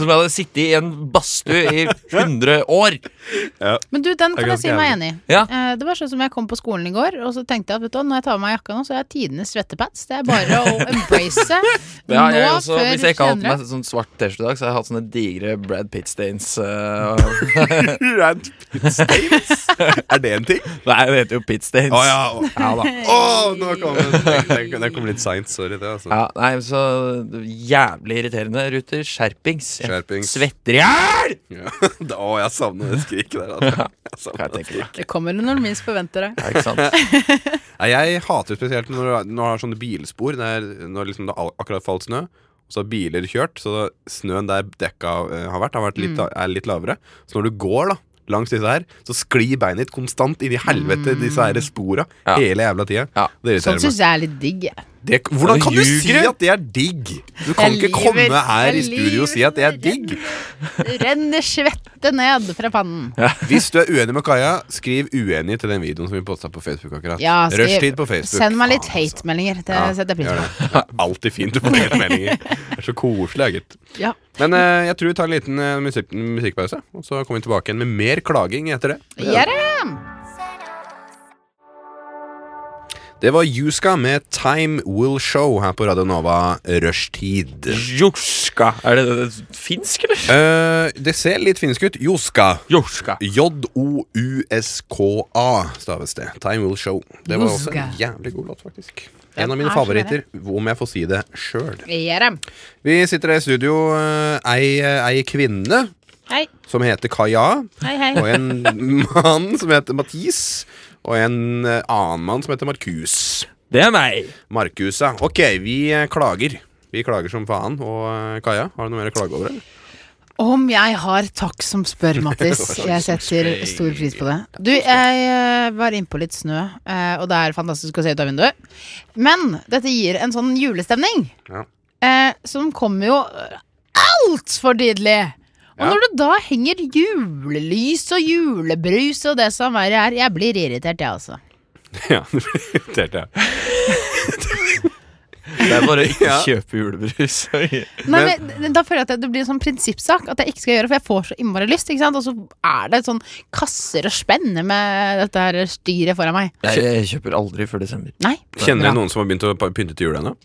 C: Som om jeg hadde sittet i en badstue i 100 år.
D: Men du, den
A: Det er
D: kan jeg si
A: ganske
D: meg
A: jævlig.
D: enig i.
C: Ja.
D: Eh, Det var sånn som jeg kom på skolen i går, og så tenkte jeg at vet du, hva, når jeg tar av meg jakka nå, så er jeg tidenes svettepads. Det er bare å embrace
C: Det har jeg
D: nå
C: også,
D: før
C: hvis jeg ikke hadde
D: senere.
C: hatt meg sånn svart T-skjorte i dag, så hadde jeg hatt sånne digre Brad eh, Pitt-stains.
A: Rant Pitstains? er det en ting?
C: Nei, det heter jo Pitt-stains.
A: Å ja. å, ja da. Å, nå kom den. Det- det- Det kom litt science. Sorry, det, altså.
C: Ja, nei, så Jævlig irriterende, Ruter. Skjerpings. Jeg
A: Skjerpings.
C: Svetter i hjel!
A: Ja. Da- Å, jeg savner det skriket der. Altså. Jeg savner
C: Kan jeg
A: det
C: tenke meg.
D: Det kommer når du minst forventer det.
C: Ja, ikke sant?
A: Nei, jeg hater spesielt når du når du har sånne bilspor der, når liksom det al- akkurat falt snø. og Så har biler kjørt, så snøen der dekka eh, har vært, har vært litt, er litt lavere. Så når du går da langs disse her, så sklir beinet ditt konstant inn i helvete, disse her spora,
C: Mm. Ja.
A: hele jævla tida.
C: Ja.
A: Det irriterer
D: Sånn
A: meg.
D: syns jeg er litt digg. jeg.
A: Det, hvordan
C: Da
A: kan du si
C: ljuger du.
A: at det er digg? Du kan
D: Jeg
A: ikke komme
D: lyver.
A: her i
D: Jeg
A: studio og si at det er digg.
D: Det renner svette ned fra pannen.
A: Hvis du er uenig med Kaja, skriv uenig til den videoen som vi posta på Facebook akkurat.
D: Ja, skriv-
A: Rushtid på Facebook.
D: Send meg litt
A: Faen, altså.
D: hate-meldinger. Det
A: Ja,
D: setter jeg pris
A: gjør
D: på.
A: det. Det er alltid fint å få hate-meldinger. Det er så koselig, da, gitt.
D: Ja.
A: Men eh, jeg tror vi tar en liten eh, musikk, musikkpause, og så kommer vi tilbake igjen med mer klaging etter det.
D: Gjør det!
A: Det var Juska med Time Will Show her på Radio Nova Rushtid.
C: Jorska. Er det, det, det finsk, eller?
A: Eh, det ser litt finsk ut. Juska.
C: Jorska.
A: J-O-U-S-K-A staves det. Time Will Show. Det var også
D: Juska.
A: en jævlig god låt, faktisk.
D: Den
A: En av mine
D: er så
A: favoritter, om jeg får si det sjøl.
D: Gjør det.
A: Vi sitter her i studio, eh, ei, ei kvinne
D: Hei,
A: som heter Kaja,
D: hei, hei.
A: og en mann som heter Mathis, og en eh, annen mann som heter Markus.
C: Det er meg.
A: Markusa. Ok, vi eh, klager. Vi klager som faen. Og eh, Kaja, har du noe mer å klage over? eller?
D: Om jeg har takk som spør, Mattis. Jeg setter stor pris på det. Du, jeg eh, var innpå litt snø, eh, og det er fantastisk å se ut av vinduet. Men dette gir en sånn julestemning
A: Ja.
D: eh, som kommer jo altfor tidlig. Og
A: Ja.
D: når det da henger julelys og julebrus og det som verre er, jeg blir irritert, jeg altså.
A: Ja, det ble irritert, ja.
C: Det er bare å ikke
A: Ja.
C: kjøpe julebrus.
D: Nei,
A: Men-
D: men, da føler jeg at det- det blir en sånn prinsippsak at jeg ikke skal gjøre det, for jeg får så innmari lyst. ikke sant? Og så er det sånn kasser og spenner med dette her styret foran meg.
C: Jeg, jeg kjøper aldri før desember.
D: Nei.
A: Kjenner
D: Bra.
A: du noen som har begynt å pa- pynte til jul ennå?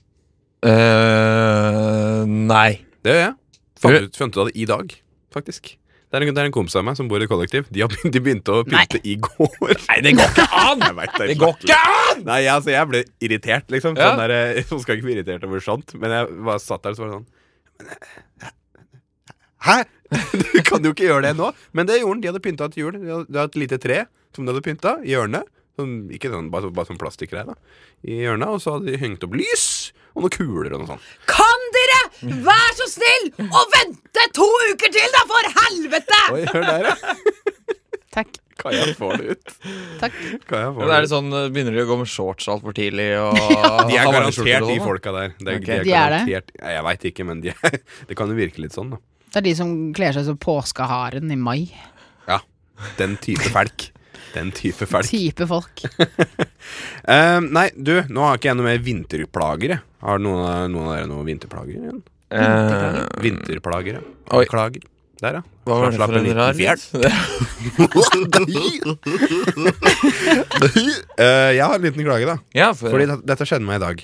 C: eh nei.
A: Det gjør jeg. Fant ut, fant ut av det i dag, faktisk. Det er en, det er en kompis av meg som bor i kollektiv. De, har, begynt- de begynte å pynte i går.
C: Nei, det går ikke an!
A: Jeg vet det,
C: Det går ikke an!
A: Nei, jeg, altså, jeg ble irritert, liksom.
C: Ja.
A: Sånn der, eh, hun skal ikke bli irritert over sånt. Men jeg bare satt der og så var det sånn eh, Hæ?! Du kan jo ikke gjøre det nå! Men det gjorde han. De hadde pynta et hjul. De hadde, de hadde et lite tre som de hadde pynta i hjørnet. Sånn, ikke sånn, bare, bare sånn plastikkgreie, da. I hjørnet. Og så hadde de hengt opp lys og noen kuler og noe sånt.
B: Kan dere være så snill å vente to uker til, da, for helvete!
A: Oi, hør der, ja.
D: Takk.
A: Kaja får det ut.
D: Takk.
A: Kaja får
C: Men er
A: det ut.
C: det sånn, eh, Begynner de å gå med shorts altfor tidlig? Og
A: De er
C: Ha
A: garantert,
C: varme
A: de
C: skjorter og sånn?
A: folka der. Det er-
C: Ok.
A: De er
D: De er det?
A: garantert Nei, Jeg veit ikke, men de er, det kan jo virke litt sånn, da.
D: Det er de som kler seg som påskeharen i mai.
A: Ja, den type felk. Den type folk.
D: Type folk.
A: Eh, nei, du, nå har ikke jeg noe mer vinterplager. jeg. Har noen av, noen av dere noen vinterplager? igjen?
C: Eh,
A: Vinterplager, ja.
C: Oi.
A: Klager. Der, ja.
C: hva var det
A: Slapp
C: for en
A: liten
C: rar
A: fjert.
C: lyd?
A: Eh, jeg har en liten klage, da.
C: Ja, for,
A: Fordi det, dette skjedde meg i dag.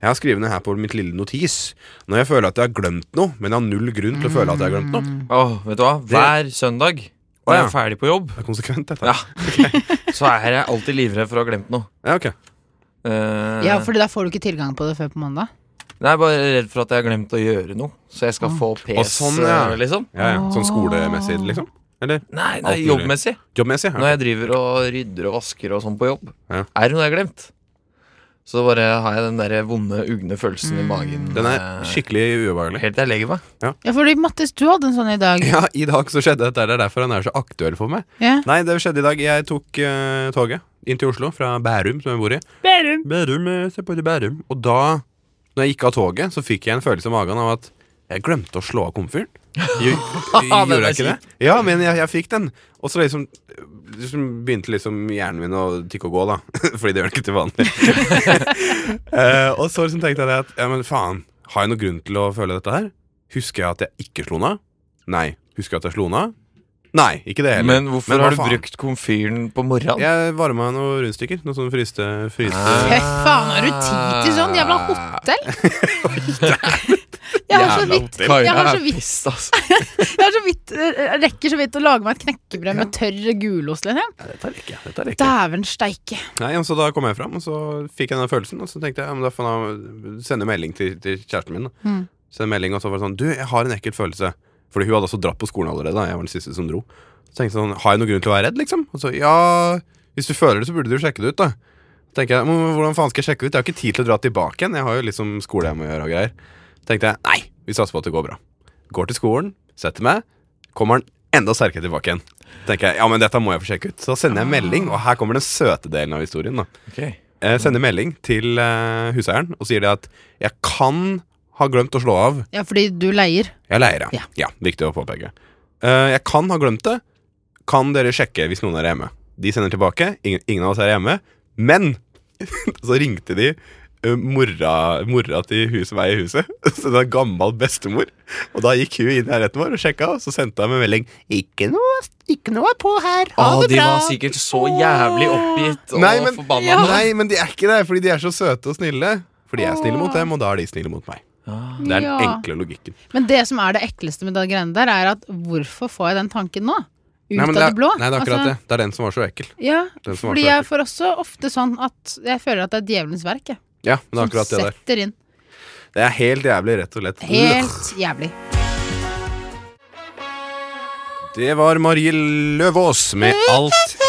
A: Jeg har skrevet ned her på mitt lille notis når jeg føler at jeg har glemt noe, men jeg har null grunn til å føle at jeg har glemt noe.
C: Åh, vet du hva? Hver søndag
A: Å,
C: når jeg
A: ja.
C: er ferdig på jobb,
A: Det er konsekvent, dette.
C: ja, så er jeg alltid livredd for å ha glemt noe.
A: Ja, ok.
C: Eh,
D: Ja, for da får du ikke tilgang på det før på mandag.
C: Nei, jeg er bare redd for at jeg har glemt å gjøre noe, så jeg skal få PS,
A: sånn, ja.
C: eh, liksom.
A: ja, ja. Sånn skolemessig, liksom? Eller
C: Nei, nei,
A: Alt mulig.
C: jobbmessig.
A: jobbmessig?
C: Når
A: Ja.
C: jeg driver og rydder og vasker og sånn på jobb,
A: Ja.
C: er det noe jeg har glemt. Så bare har jeg den der vonde, ugne følelsen i magen.
A: Mm. Den
C: eh,
A: er skikkelig ubehagelig.
C: Helt til jeg legger meg.
D: Ja, fordi Mattis, du hadde en sånn i dag.
A: Ja, i dag så skjedde dette. Det er derfor han er så aktuell for meg.
D: Ja.
A: Nei, det skjedde i dag. Jeg tok eh, toget inn til Oslo fra Bærum, som jeg bor i.
D: Berum.
A: Bærum, eh, se på det Bærum. Og da, når jeg gikk av toget, så fikk jeg en følelse i magen av at jeg glemte å slå av komfyren. Gj- Gjorde
C: var
A: jeg ikke det? Ja, men jeg, jeg fikk den. Og så liksom, liksom begynte liksom hjernen min å tikke og gå, da. Fordi det gjør den ikke til vanlig. Eh, og så liksom tenkte jeg det at ja, men faen, har jeg noen grunn til å føle dette her? Husker jeg at jeg ikke slo den av? Nei. Husker jeg at jeg slo den av? Nei, ikke det heller.
C: Men hvorfor
A: hva
C: har du
A: faen?
C: brukt komfyren på morgenen?
A: Jeg varma noen rundstykker. Noen sånne fryste, fryste
C: Ah.
D: Fy faen, har du tid til sånn jævla hotell? Jeg har så
A: Jævla
D: vidt,
A: hotell.
D: jeg har så
C: er
D: vidt,
C: pissed, altså.
D: jeg har så vidt eh, jeg rekker så vidt å lage meg et knekkebrød med tørr gulost, liksom.
A: Nei, Dette liker jeg. Dette liker jeg.
D: Dæven steike.
A: Nei, og så Da kom jeg fram, og så fikk jeg den følelsen. Og så tenkte jeg ja, men da får jeg sende melding til, til kjæresten min. Da.
D: Mm.
A: Sende melding, Og så var det sånn Du, jeg har en ekkel følelse. Fordi hun hadde også dratt på skolen allerede. Da. Jeg var den siste som dro. Så tenkte jeg sånn Har jeg noen grunn til å være redd, liksom? Og så ja, hvis du føler det, så burde du jo sjekke det ut, da. Så Tenkte jeg, men Hvordan faen skal jeg sjekke det ut? Jeg har ikke tid til å dra tilbake igjen. Jeg har jo liksom skole jeg må gjøre og greier. Så tenkte jeg nei, vi satser på at det går bra. Går til skolen, setter meg, kommer han enda sterkere tilbake igjen. Tenker jeg, ja, men dette må jeg få sjekke ut. Så sender jeg melding, og her kommer den søte delen av historien. da
C: Ok.
A: eh, sender melding til eh, huseieren og sier det at jeg kan ha glemt å slå av.
D: Ja, fordi du leier.
A: Jeg leier,
D: Ja.
A: ja. ja viktig å påpeke. Eh, jeg kan ha glemt det. Kan dere sjekke hvis noen er hjemme? De sender tilbake. Ingen, ingen av oss er hjemme. Men så ringte de eh, mora, mora til hun som er i huset. Så det var gammel bestemor. Og da gikk hun inn i leiligheten vår og sjekka, og så sendte hun meg en melding. Ikke noe, ikke noe er på her. Ha
C: Å,
A: det
C: de
A: bra.
C: var sikkert så jævlig oppgitt og
A: Nei, men,
C: forbanna.
A: nei, men de er ikke det, fordi de er så søte og snille. Fordi jeg er snille mot dem, og da er de snille mot meg.
C: Ah.
A: Det er den
D: Ja.
A: enkle logikken.
D: Men det som er det ekleste med den greiene der, er at hvorfor får jeg den tanken nå? Ut
A: men
D: av
A: det,
D: det
A: er-
D: blå.
A: nei, det er akkurat
D: Altså,
A: det. Det er den som var så ekkel.
D: Ja,
A: Den som var
D: fordi
A: så
D: jeg
A: ekkel.
D: får også ofte sånn at jeg føler at det er djevelens verk. Jeg,
A: Ja, men det er
D: som
A: akkurat det der.
D: setter inn.
A: Det er helt jævlig, rett og slett.
D: Helt jævlig.
A: Det var Marie Løvaas med alt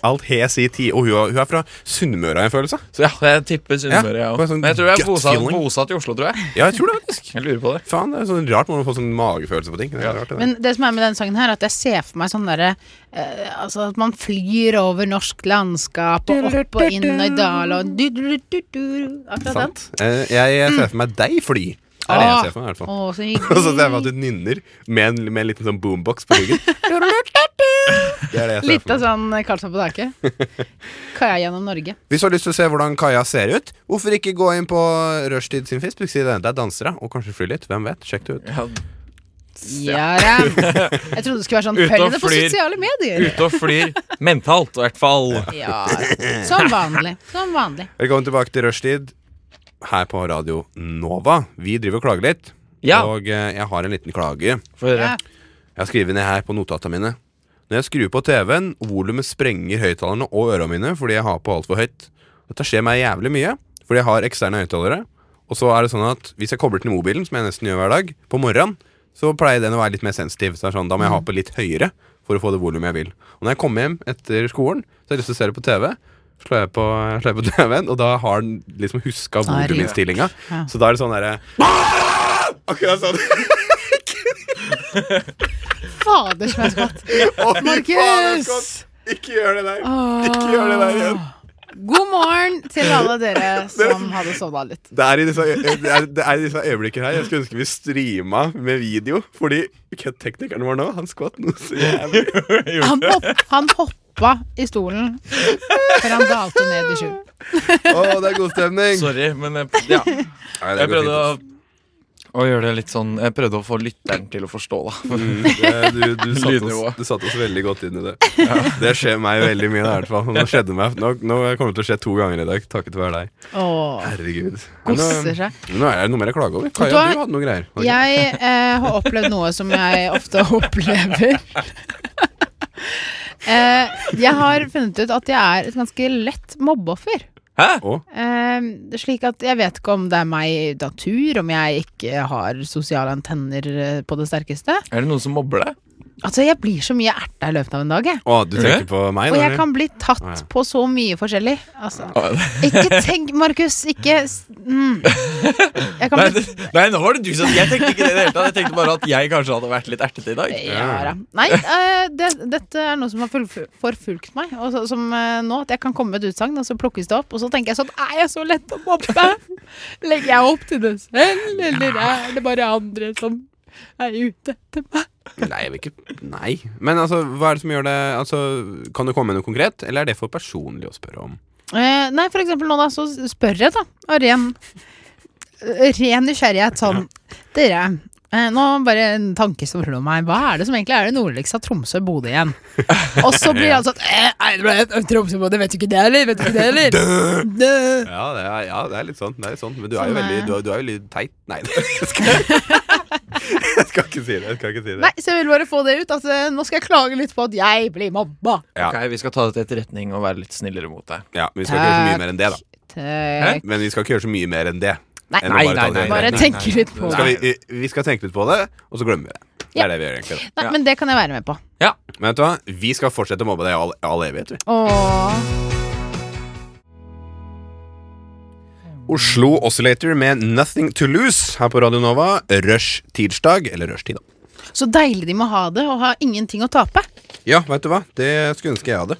A: Alt hes i tid. Og hun, er- hun er fra Sunnmøre, har jeg en følelse.
C: Så ja, jeg tipper Sunnmøre, jeg
A: Ja,
C: òg.
A: bare sånn
C: Men jeg tror jeg er
A: gut
C: bosatt,
A: feeling.
C: bosatt i Oslo, tror jeg.
A: Ja, jeg tror det, faktisk.
C: Jeg lurer på det.
A: Faen, det er sånn rart hvordan man får sånn magefølelse på ting. Det er rart, det der.
D: Men det som er med denne sangen her, er at jeg ser for meg sånn derre eh, Altså at man flyr over norsk landskap og opp og inn og i dal og du, du, du, du, du. Akkurat den.
A: Sant. Eh, Jeg, jeg
D: Mm.
A: ser for meg deg fly. Det er det jeg ser for meg, i hvert fall.
D: Å, så
A: Og så ser jeg for meg at
D: hyggelig.
A: du nynner med en, med en liten sånn boombox på ryggen. Det er det jeg ser
D: Litt
A: for meg.
D: av sånn Karlsson på taket. Kaia gjennom Norge.
A: Hvis du har lyst til å se hvordan Kaja ser ut, hvorfor ikke gå inn på Rushtid sin Facebook-side? Der danser hun, og kanskje fly litt. Hvem vet? Sjekk det ut.
C: Ja,
D: Ja, da. jeg trodde det skulle være sånn
C: Ute og
D: Følg det på
C: flyr.
D: sosiale medier.
C: Ute og flyr mentalt, i hvert fall.
D: Ja, som vanlig. Som vanlig.
A: Velkommen tilbake til Rushtid her på Radio Nova. Vi driver og klager litt,
C: Ja,
A: og eh, jeg har en liten klage.
C: få høre.
D: Ja.
A: Jeg har skrevet ned her på notatene mine. Når jeg skrur på TV-en, volumet sprenger høyttalerne og ørene mine fordi jeg har på altfor høyt. Dette skjer meg jævlig mye, fordi jeg har eksterne høyttalere. Og så er det sånn at hvis jeg kobler til mobilen, som jeg nesten gjør hver dag, på morgenen, så pleier den å være litt mer sensitiv. Så det er sånn, da må jeg
D: Mm.
A: ha på litt høyere for å få det volumet jeg vil. Og når jeg kommer hjem etter skolen, så har jeg lyst til å se det på TV. Så Slår jeg på, slår jeg på TV-en, og da har den liksom huska
D: Da er det
A: voluminnstillinga.
D: Ja.
A: Så da er det sånn derre Akkurat sånn.
D: Fader som jeg
A: Å,
D: skvatt.
A: fy faen, det er
D: Markus!
A: godt. Ikke gjør det der. Ikke gjør det der igjen.
D: God morgen til alle dere som hadde sovna litt.
A: Det er i disse, det er, det er i disse øyeblikkene her jeg skulle ønske vi streama med video. Fordi teknikeren vår nå, han skvatt noe så jævlig.
D: Han, hopp, han hoppa hoppa i stolen før han dalte ned i skjul.
A: Å, det er god stemning!
C: Sorry, men eh, jeg, ja.
A: Nei, det
C: jeg
A: går
C: prøvde å,
A: fint,
C: å gjøre det litt sånn Jeg prøvde å få lytteren til å forstå, da.
A: Mm, det- du, du, satte oss,
C: Lydnivået.
A: du satte oss veldig godt inn i det. Det skjer meg veldig mye. da, i hvert fall Nå skjedde meg Nå, nå kommer det til å skje to ganger i dag, takket være deg.
D: Åh,
A: Herregud. Men
D: koser
A: Nå,
D: seg.
A: nå er det noe mer å klage over.
D: Vet du
A: Kaja,
D: hva?
A: du hadde noe greier. Ok.
D: Jeg eh, har opplevd noe som jeg ofte opplever. eh, jeg har funnet ut at jeg er et ganske lett mobbeoffer.
C: Hæ?
A: Å?
D: Eh, slik at jeg vet ikke om det er meg i natur, om jeg ikke har sosiale antenner eh, på det sterkeste.
C: Er det noen som mobber deg?
D: Altså, jeg blir så mye erta i løpet av en dag, jeg.
A: Å, du tenker
C: Ok.
A: på meg? nå,
D: Og jeg
A: eller?
D: kan bli
A: Å, ja.
D: tatt på så mye forskjellig. Altså,
C: Ah,
D: ikke tenk, Markus. Ikke s- mm. Jeg kan
C: Nei,
D: bli
C: det, nei, nå var det du som Jeg tenkte ikke det i det hele tatt. Jeg tenkte bare at jeg kanskje hadde vært litt ertete i dag.
D: Ja da. Nei, eh, det, dette er noe som har fullf- forfulgt meg. Og så, som eh, nå, at jeg kan komme med et utsagn, og så plukkes det opp. Og så tenker jeg sånn Er jeg så lett å mobbe? Legger jeg opp til det selv, eller er det bare andre som er ute etter meg?
A: Nei, jeg vil ikke Nei. Men altså, hva er det som gjør det altså, Kan du komme med noe konkret, eller er det for personlig å spørre om?
D: Eh, nei, for eksempel nå, da, så spør jeg, da. Av ren, eh, ren nysgjerrighet sånn Dere, eh, nå bare en tanke som slo meg. Hva er det som egentlig er det nordligste av Tromsø og Bodø igjen? Og så blir han sånn eh, nei, det ble Tromsø og Bodø, vet du ikke det, eller? Vet du ikke det, eller? Dø.
A: Ja, det er, ja, det er litt sånn. Det er litt sånn. Men du
D: Sånn
A: er jo
D: er
A: veldig,
D: jeg.
A: du er, du er veldig teit. Nei, jeg skal, jeg skal ikke si det. Jeg skal ikke si det.
D: Nei, så jeg vil bare få det ut. At eh, nå skal jeg klage litt på at jeg blir mobba.
A: Ja.
C: Ok, Vi skal ta det til etterretning og være litt snillere mot deg.
A: Ja, men vi skal ikke gjøre så mye mer enn det, da.
D: Takk.
A: Men vi skal ikke gjøre så mye mer enn det.
D: Nei,
A: Enn å bare ta det til
D: Bare
A: etterretning.
D: tenke litt på
A: Skal vi, vi- vi skal tenke litt på det, og så glemmer vi det. Det
D: Ja.
A: er det vi gjør egentlig. da.
D: Nei, men det kan jeg være med på.
A: Men vet du hva? Vi skal fortsette å mobbe deg i all, all evighet. vi.
D: Åh.
A: Oslo Oscillator med Nothing to Lose her på Radio Nova. Rush tirsdag, eller rushtid, da.
D: Så deilig de må ha det, og ha ingenting å tape.
A: Ja, vet du hva? Det skulle ønske jeg hadde.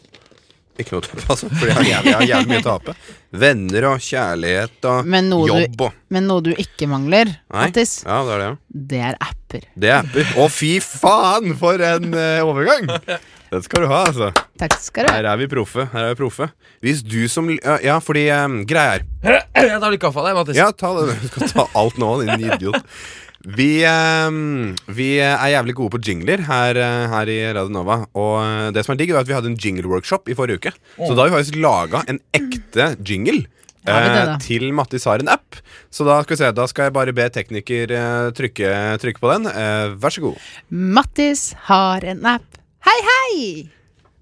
A: Ikke noe å tape, altså. For jeg har jævlig, jeg har jævlig mye å tape. Venner og kjærlighet og
D: Men noe du-
A: jobb og
D: Men noe du ikke mangler, Mattis,
A: Ja, det er det.
D: det er apper.
A: Det er apper. Å, fy faen, for en eh, overgang! Den skal du ha, altså.
D: Takk skal du ha.
A: Her er vi proffe. Her er vi proffe. Hvis du som Ja, ja fordi um, Greia er
C: Jeg tar litt kaffe av deg, Mattis.
A: Ja, ta det. Du skal ta alt nå, din idiot. Vi, ehm, vi er jævlig gode på jingler her, eh, her i Radio Nova. Og eh, det som er digg, er at vi hadde en jingle-workshop i forrige uke. Så da har vi faktisk laga en ekte jingle.
D: Har vi det, da?
A: eh, til Mattis har en app. Så da skal vi se, da skal jeg bare be tekniker eh, trykke, trykke på den. Eh, vær så god.
D: Mattis har en app. Hei, hei!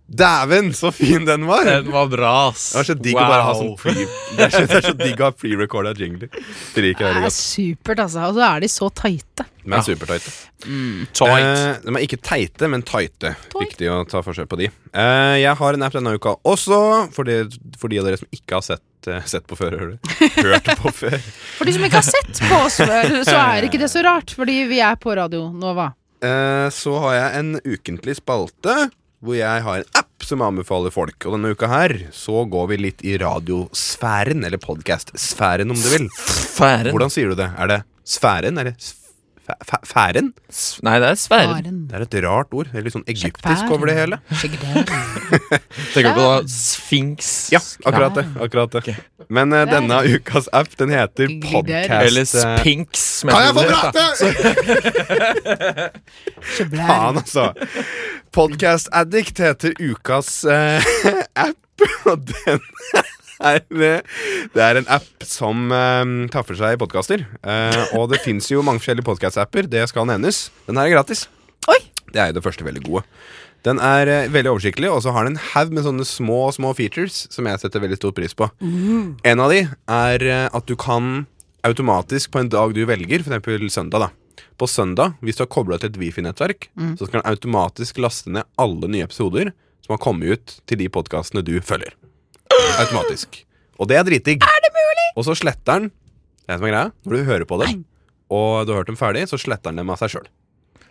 A: Dæven, så fin den var!
D: Eh,
C: Den var bra, ass.
A: Det er så digg å bare ha sånn pre Det er så, det er så digg å ha pre-recorda jingler. Det liker jeg
D: Det
A: veldig
D: er
A: godt.
D: supert, altså. Og så er de så tighte.
A: Men supertighte.
C: Tight.
A: Eh, de er ikke teite, men tighte. Viktig å ta forskjell på de. Eh, jeg har en app denne uka også, for de, for de av dere som ikke har sett, eh, sett på før. Hører du? Hørt på før.
D: For de som ikke har sett på oss før, så er ikke det så rart, fordi vi er på Radio Nova.
A: Eh, så har jeg en ukentlig spalte hvor jeg har en app som jeg anbefaler folk. Og denne uka her så går vi litt i radiosfæren, eller podcast-sfæren om du vil.
C: Sfæren.
A: Hvordan sier du det? Er det sfæren? Er det sfæ- fæ- færen?
C: S- Nei, det er sfæren.
D: Faren.
A: Det er et rart ord. Det er litt sånn egyptisk over det hele.
D: Skjeggdelen.
C: Tenker du på da sfinks?
A: Ja, akkurat det. akkurat det Men eh, denne ukas app, den heter Podcast...
C: Eller
A: eh,
C: spinks. som
A: Kan jeg få
C: tror det heter, da.
A: prate?! Faen, altså. Podcast Addict heter ukas eh, app, og den er Det er en app som eh, tar for seg podkaster. Eh, og det fins jo mange forskjellige podcast-apper, det skal nevnes. Den her er gratis.
D: Oi!
A: Det er jo det første veldig gode. Den er eh, veldig oversiktlig, og så har den en haug med sånne små små features som jeg setter veldig stor pris på. En av de er eh, at du kan automatisk på en dag du velger, f.eks. søndag, da. På søndag, hvis du har kobla til et wifi-nettverk, så skal den automatisk laste ned alle nye episoder som har kommet ut til de podkastene du følger. Automatisk. Og det er dritdigg. Er det mulig? Og så sletter den Det er det som er greia. Når du hører på dem, og du har hørt dem ferdig, så sletter den dem av seg sjøl.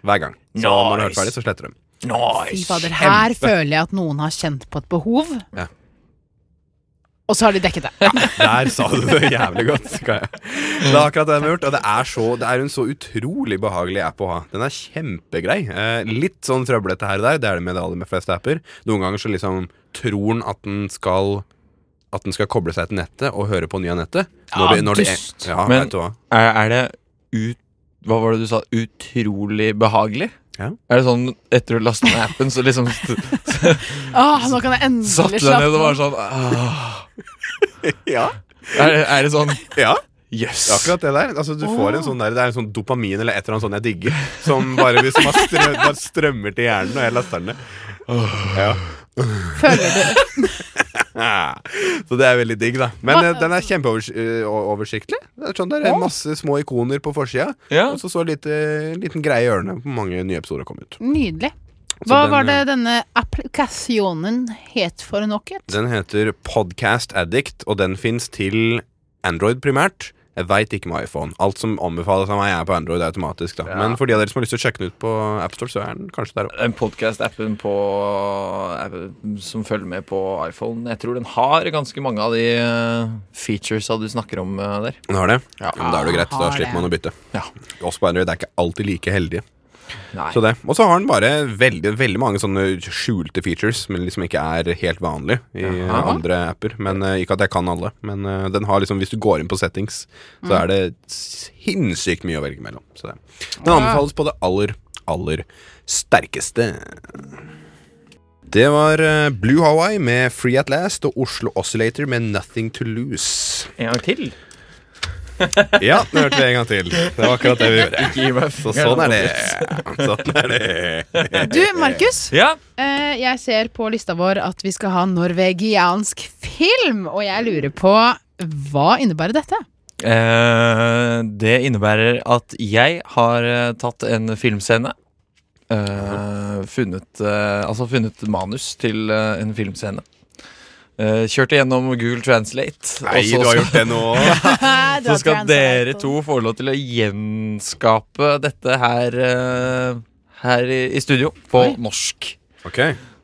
A: Hver gang. Så når du har hørt
C: Nice.
A: ferdig, så sletter du dem.
D: Fy
C: Nice.
D: fader, her føler jeg at noen har kjent på et behov Og så har de dekket det. Ah,
A: Der sa du det jævlig godt. Kaja. Det er akkurat det de har gjort, og det er, så, det er en så utrolig behagelig app å ha. Den er kjempegrei. Eh, litt sånn trøblete her og der, det er det med de aller fleste apper. Noen ganger så liksom tror den at den skal At den skal koble seg til nettet og høre på nye nettet.
C: Ja,
A: det- det er-
C: dust.
A: ja,
C: Men-
A: vet du hva.
C: Er, er det ut... Hva var det du sa? Utrolig behagelig?
A: Ja.
C: Er det sånn etter du lastet ned appen, så liksom
D: Åh, ah, nå kan jeg endelig
C: satt du deg
D: slappe
C: ned og
D: av.
C: var sånn «Åh».
A: Ja,
C: er, det- er det sånn
A: ja,
C: Jøss.
A: det er akkurat det der. Altså, du får en sånn der Det er en sånn dopamin eller et eller annet sånt jeg digger, som bare, hvis man strø, bare strømmer til hjernen, og jeg laster den ned. Ja.
D: Føler du
A: Ah, Så det er veldig digg, da. Men
D: Hva-
A: eh, den er kjempeoversiktlig. Det er sånn der, er Masse små ikoner på forsida,
C: Ja.
A: og så så lite, eh, liten greie i ørene på mange nye episoder har kommet ut.
D: Nydelig. Hva
A: den,
D: var det denne applikasjonen het for noe?
A: Den heter Podcast Addict, og den fins til Android primært. Jeg veit ikke med iPhone. Alt som anbefales av meg, er på Android automatisk. da Men for de av dere som har lyst til å sjekke den ut på AppStore, så er den kanskje der òg.
C: Den podkast-appen på eh, som følger med på iPhone, jeg tror den har ganske mange av de eh, featuresa du snakker om eh, der.
A: Den har det? Ja, men da er det jo greit. Da
D: Har det.
A: slipper man å bytte.
C: Ja.
A: Oss på Android er ikke alltid like heldige.
C: Nei.
A: Så det. Og så har den bare veldig, veldig mange sånne skjulte features, men liksom ikke er helt vanlig i eh,
C: Jaha.
A: andre apper. Men eh, Ikke at jeg kan alle, men eh, den har liksom, hvis du går inn på settings, så er det sinnssykt mye å velge mellom. Så det. Den anbefales på det aller, aller sterkeste. Det var eh, Blue Hawaii med Free At Last og Oslo Oscillator med Nothing To Lose.
C: En gang til.
A: Ja, nå hørte vi en gang til. Det var akkurat det vi gjorde.
C: Gi meg
A: Så sånn er det. Sånn er det.
D: Du, Markus.
C: Ja.
D: Eh, jeg ser på lista vår at vi skal ha norvegiansk film, og jeg lurer på hva innebærer dette?
C: Eh, det innebærer at jeg har eh, tatt en filmscene. eh, funnet eh, Altså funnet manus til eh, en filmscene. Eh, kjørt igjennom Google Translate.
A: Nei,
C: og
A: du har
C: så skal-
A: gjort det nå.
C: Så skal dere to få lov til å gjenskape dette her eh, Her i i studio på
D: Oi.
C: norsk.
A: Ok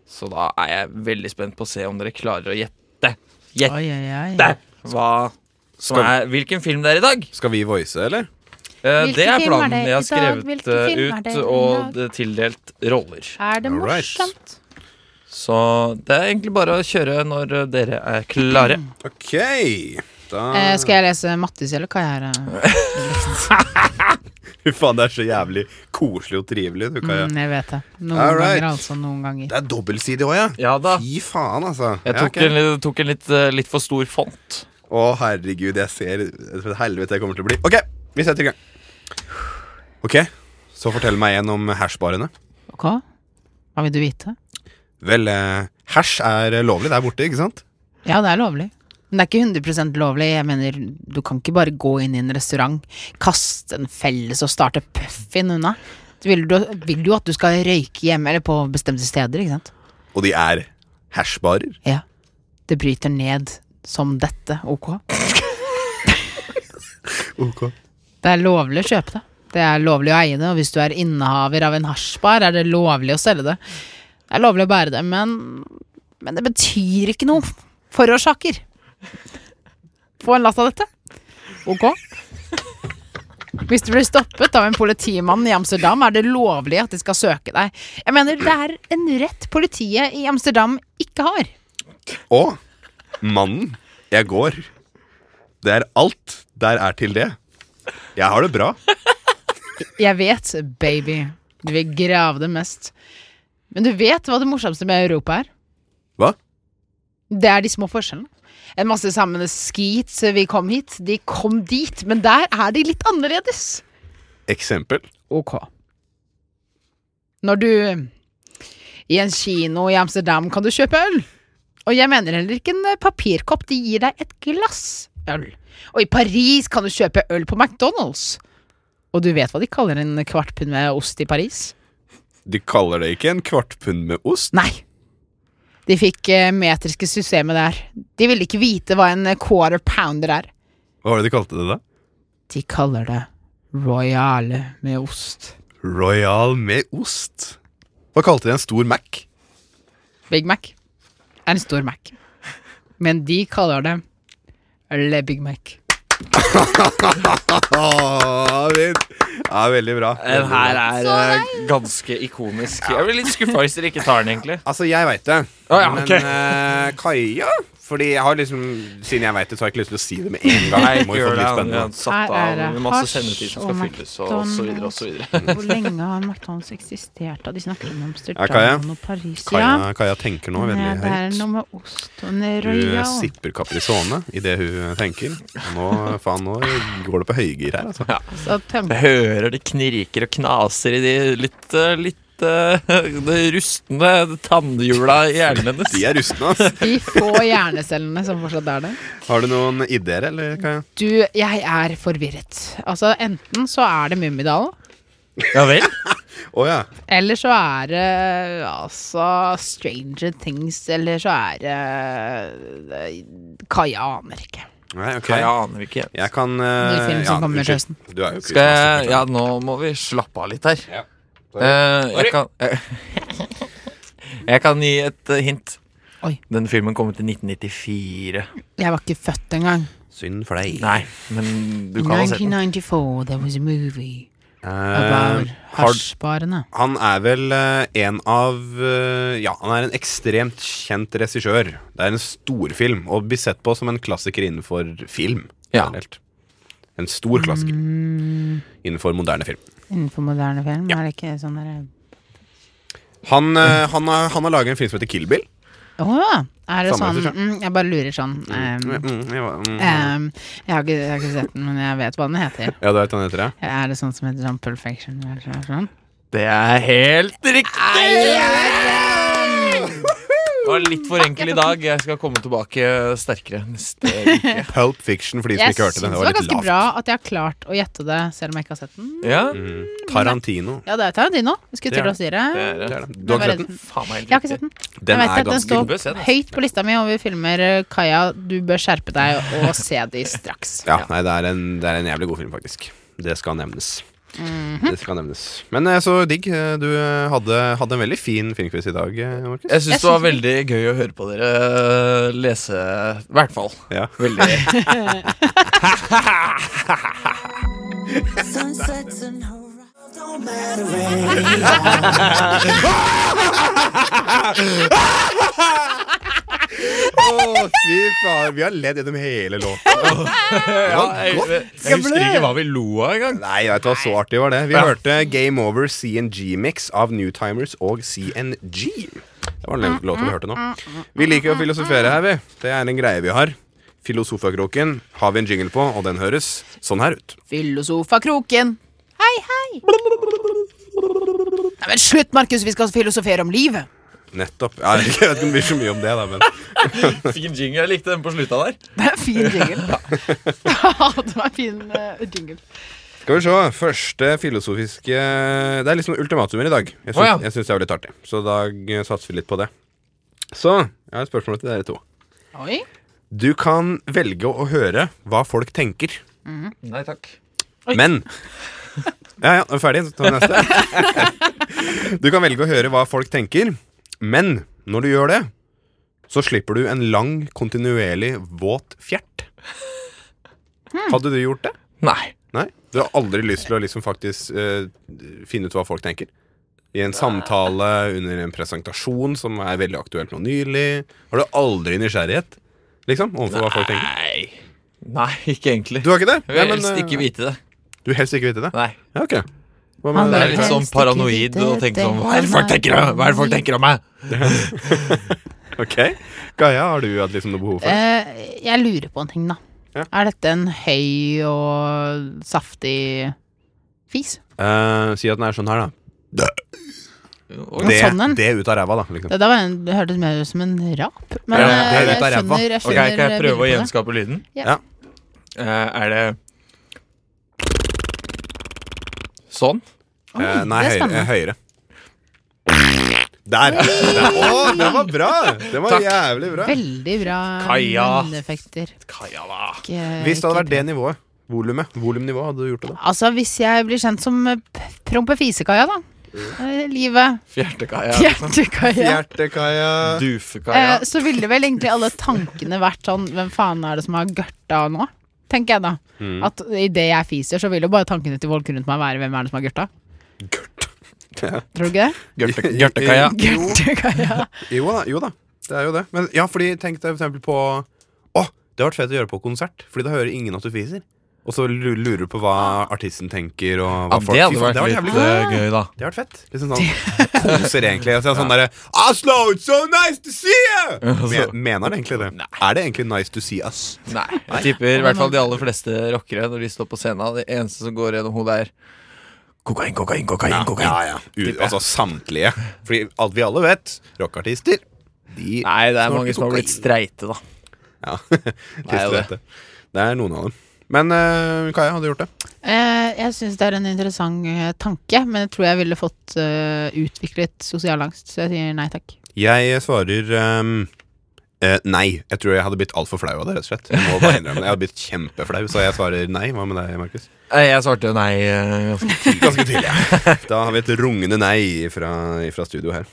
C: Så da er jeg veldig spent på å se om dere klarer å gjette
D: Oi, oi, oi.
C: Gjette hva som
A: Skal-
C: er, hvilken film det er i dag.
A: Skal vi voice, eller?
C: Eh,
D: Hvilken
C: det er
D: film er
C: planen.
D: det i
C: Jeg har
D: dag?
C: skrevet
D: Hvilken
C: eh,
D: film er
C: ut
D: det i
C: og
D: dag?
C: det er tildelt roller.
D: Er det
A: Alright.
D: morsomt?
C: Så det er egentlig bare å kjøre når eh, dere er klare.
A: Ok da...
D: Eh, skal jeg lese Mattis, eller hva jeg er?
A: Fy faen, det er så jævlig koselig og trivelig. Du, Kaja.
D: Mm, jeg vet det. Noen
A: Alright.
D: ganger, altså. Noen ganger.
A: Det er dobbeltside òg, ja.
C: Ja da.
A: Fy faen, altså.
C: Jeg
A: Ja,
C: tok
A: ok.
C: en, litt- tok en litt, eh, litt for stor font.
A: Å, herregud, jeg ser for helvete jeg kommer til å bli. Ok, vi setter i gang. Ok, så fortell meg igjen om hashbarene.
D: Ok? Hva vil du vite?
A: Vel, eh, hash er eh, lovlig der borte, ikke sant?
D: Ja, det er lovlig. Men det er ikke 100 lovlig. Jeg mener, du kan ikke bare gå inn i en restaurant, kaste en felles og starte puffin unna. Du vil, du, vil jo at du skal røyke hjemme eller på bestemte steder, ikke sant?
A: Og de er hashbarer.
D: Ja. Det bryter ned som dette, ok?
A: Ok.
D: Det er lovlig å kjøpe det. Det er lovlig å eie det, og hvis du er innehaver av en hasjbar, er det lovlig å selge det. Det er lovlig å bære det, men, men det betyr ikke noe. Forårsaker. Få en latt av dette. Ok? Hvis du blir stoppet av en politimann i Amsterdam, er det lovlig at de skal søke deg. Jeg mener, det er en rett politiet i Amsterdam ikke har.
A: Og mannen jeg går Det er alt der er til det. Jeg har det bra.
D: Jeg vet, baby. Du vil grave det mest. Men du vet hva det morsomste med Europa er?
A: Hva?
D: Det er de små forskjellene. En masse sammen skit vi kom hit, de kom dit, men der er de litt annerledes.
A: Eksempel.
D: Ok. Når du I en kino i Amsterdam kan du kjøpe øl. Og jeg mener heller ikke en eh, papirkopp, de gir deg et glass øl. Og i Paris kan du kjøpe øl på McDonald's. Og du vet hva de kaller en kvart pund med ost i Paris?
A: De kaller det ikke en kvart pund med ost.
D: Nei. De fikk eh, metriske systemet der. De ville ikke vite hva en eh, quarter pounder er.
A: Hva var det de kalte det, da?
D: De kaller det royale med ost.
A: Royal med ost. Hva kalte de en stor Mac?
D: Big Mac er en stor Mac. men de kaller det Le Big Mac.
A: Åh, David! Ja, veldig bra.
C: Den
A: Veldig
C: her
A: bra.
C: er eh, ganske ikonisk. Jeg blir litt skuffa hvis dere ikke tar den, egentlig.
A: Altså, jeg veit det,
C: Å, ja,
A: men
C: ok.
A: eh, Kaja Fordi jeg har liksom Siden jeg veit det, så har jeg ikke lyst til å si det med en gang.
C: Nei,
A: Det
C: ikke
A: må jo få
C: gjør
A: det
C: det.
A: litt
C: Han
A: spennende.
C: har satt
D: Her er
C: av
D: det
C: masse
D: hasj
C: sendetid som
D: og
C: skal fylles, og og så videre og så videre.
D: Hvor lenge har McDonald's eksistert? da? De snakker om
A: Ja, Kaja.
D: Amsterdam og Paris. Ja,
A: Kaja, Kaja tenker nå veldig
D: Nei, det er
A: høyt.
D: noe med ost og
A: Hun
D: Royal.
A: eh, sipper Caprisone idet hun eh, tenker. Nå, faen, nå går det på høygir her, altså.
D: Så tømmer
C: Jeg hører det knirker og knaser i de litt, eh, litt eh, de rustne tannhjula i hjernen hennes.
A: De er rustne, ass.
D: de få hjernecellene som fortsatt er der.
A: Har du noen ideer, eller, Kaja?
D: Du, jeg er forvirret. Altså, enten så er det Mummidalen,
C: Ja vel?
A: Å ja.
D: eller så er det altså Stranger Things, eller så er det eh, Kaja aner ikke.
A: Nei, ok.
C: Jeg aner ikke.
A: Jeg kan uh,
D: Ny film som kommer til høsten.
A: Du er jo
C: Skal jeg Ja, nå må vi slappe av litt her.
A: Ja.
C: Eh, jeg kan jeg, jeg kan gi et eh, hint.
D: Oi.
C: Den filmen kom ut i 1994.
D: Jeg var ikke født engang.
A: Synd for deg.
C: Nei, men du
D: In
C: kan ha sett den.
D: 1994, there was a movie
A: Eh, har,
D: about hasjbarene.
A: han er vel eh, en av eh, Ja, han er en ekstremt kjent regissør. Det er en storfilm, og blir sett på som en klassiker innenfor film.
C: Ja.
A: generelt. En stor klassiker
D: Mm.
A: innenfor moderne film.
D: Innenfor moderne film, er det ikke sånn derre
A: Han, eh, han, har, han har laget en film som heter Kill Bill.
D: Å ja! Er det
A: Samme
D: sånn
A: regissør.
D: mm, Jeg bare lurer sånn. Um,
A: Mm, jeg var- mm.
D: um, jeg, har ikke, jeg har ikke sett den, men jeg vet hva den heter.
A: Ja, du vet hva han heter, ja?
D: Er det sånn som heter sånn Perfection? eller sånn- sånn?
C: Det er helt
D: Ah.
C: riktig! Det var litt for enkel i dag. Jeg skal komme tilbake sterkere neste uke.
A: Pulp Fiction, for de som ikke
D: Jeg syns
A: hørte det.
D: det
A: Det
D: var
A: var litt
D: ganske
A: lavt.
D: bra at jeg har klart å gjette det, selv om jeg ikke har sett den.
C: Ja,
A: Mm. Tarantino.
D: Ja, det er Tarantino. Jeg skulle
A: Det er
D: til å si det.
C: det er
A: Det
C: det.
A: er det. Du har ikke
D: Jeg var
A: sett den?
D: redd.
C: Faen meg helt
D: Jeg har ikke sett
C: riktig.
D: den.
A: Den
D: jeg
A: er
D: vet at den
A: ganske
C: Du bør se
D: står
C: den.
D: høyt på lista mi over filmer. eh, Kaja, du bør skjerpe deg og se de straks.
A: Ja, nei, det er, en, det er en jævlig god film, faktisk. Det skal nevnes.
D: Mhm.
A: Det skal nevnes. Men eh, så digg. eh, Du eh, hadde, hadde en veldig fin filmquiz i dag, eh, Markus.
C: Jeg
D: Jeg
C: syns det var
D: syns
C: veldig gøy å høre på dere eh, lese, i hvert fall.
A: Ja.
C: Veldig.
E: Sunsets and horizons don't matter
A: Å, fy faen. Vi har ledd gjennom hele låten.
C: Ja, jeg, jeg, husker ikke hva vi lo av engang.
A: Nei, vet du hva, så artig var det. Vi hørte Game Over CNG-mix av Newtimers og CNG. Det var den låten vi hørte nå. Vi liker å filosofere her, vi. Det er en greie vi har. Filosofakroken har vi en jingle på, og den høres sånn her ut.
D: Filosofakroken. Hei, hei. Nei, men slutt, Markus. Vi skal filosofere om livet.
A: Nettopp. Ja, jeg vet ikke om det blir så mye om det, da, men
C: Fikk en jingle. Jeg likte den på slutta der.
D: Det er en fin jingle. Ja, det var en fin eh, jingle.
A: Skal vi se. Første filosofiske Det er liksom ultimatumer i dag. Jeg syns,
C: Å, ja.
A: jeg syns det er litt artig, så da eh, satser vi litt på det. Så jeg har et spørsmål til dere to.
D: Oi.
A: Du kan velge å høre hva folk tenker,
C: Nei takk.
A: men Ja, ja, er ferdig. Så tar vi neste. Du kan velge å høre hva folk tenker, men når du gjør det, så slipper du en lang, kontinuerlig våt fjert. Hadde du gjort det?
C: Nei.
A: Nei, Du har aldri lyst til å liksom faktisk eh, finne ut hva folk tenker? I en samtale, under en presentasjon som er veldig aktuelt nå nylig? Har du aldri nysgjerrighet Liksom, overfor hva folk tenker?
C: Nei. Nei, ikke egentlig.
A: Du har ikke det?
C: Jeg
A: Nei,
C: vil
A: men,
C: helst
A: eh,
C: ikke vite det.
A: Du vil helst ikke vite det?
C: Nei.
A: Ja, ok Hva
D: Han
A: med
C: Det
D: vil
C: er
A: deg?
C: litt sånn paranoid å tenke sånn Hva er det folk tenker om, Hva er det folk tenker om meg?
A: Ok Gaia, har du hatt liksom noe behov for det?
D: Eh, jeg lurer på en ting, da.
A: Ja.
D: Er dette en høy og saftig fis?
A: Eh, si at den er sånn her, da.
C: Oi.
A: Det,
D: sånn en?
A: det ut av ræva, da. Liksom.
D: Det, der var en, det hørtes mer ut som en rap. Men
C: Ja,
A: det
D: eh,
A: er
D: jeg
A: ut av ræva.
D: skjønner, jeg
C: Ok,
D: skjønner
C: Kan jeg prøve å
D: bildet på det.
C: gjenskape lyden?
D: Ja.
A: Ja.
C: Eh, er det Sånn?
D: Oi,
A: Eh, nei,
D: det er
A: høyere.
D: spennende.
A: eh, høyere. Der! Der. Å, den var bra! Den var
C: Takk.
A: jævlig bra.
D: Veldig bra eh,
C: Kaja.
D: lydeffekter.
C: Kaja, da.
D: Ikke-
A: Hvis det hadde
D: ikke-
A: vært det nivået, volumet, volumnivået, hadde du gjort det da?
D: Altså, hvis jeg blir kjent som eh, p- Prompe Fisekaja, da.
A: Mm.
D: eh, livet,
C: Fjertekaia.
D: hjertekaia
A: Hjertekaia.
C: Dufekaia.
D: eh, Så ville vel egentlig alle tankene vært sånn Hvem faen er det som har gørta nå? Tenker jeg da
A: Mm.
D: At i det jeg fiser så vil jo bare tankene til folk rundt meg være Hvem er det som har gørta? Tror du ikke det?
C: Gjørte- Gjørtekaia.
D: Gørtekaia
A: Jo da, jo da. Det er jo det. Men ja, fordi tenk deg for eksempel på Å, det har vært fett å gjøre på konsert, Fordi da hører ingen at du fiser. Og så lu- lurer du på hva artisten tenker, og hva
C: Ja,
A: folk
C: det hadde
A: Fy faen,
C: vært
A: jævlig
C: litt
A: gøy.
C: eh, gøy, da.
A: Det har vært fett. Liksom sånn koser egentlig. Og så er det sånn derre Oslo, it's so nice to see you!
C: altså.
A: Men- Mener han egentlig det? Er det egentlig nice to see us?
C: Nei, jeg tipper i hvert fall de aller fleste rockere når de står på scenen. Det eneste som går gjennom hodet, er kokain, kokain, kokain. kokain
A: U altså samtlige. Fordi alt vi alle vet, rockeartister de
C: Nei, det er
A: snorker
C: mange som har blitt
A: kokain.
C: streite, da.
A: Ja. Trist å
C: det.
A: vite. Det er noen av dem. Men eh, Kaja, hadde du gjort det?
D: Eh, jeg syns det er en interessant eh, tanke, men jeg tror jeg ville fått eh, utviklet sosial angst, så jeg sier nei takk.
A: Jeg svarer ehm, eh, nei. Jeg tror jeg hadde blitt altfor flau av det. rett og slett Jeg må bare innrømme det. Jeg hadde blitt kjempeflau, så jeg svarer nei. Hva med deg, Markus?
C: Nei, Jeg svarte jo nei. eh, ganske
A: Ganske tidlig. ja. Da har vi et rungende nei fra, fra studio her.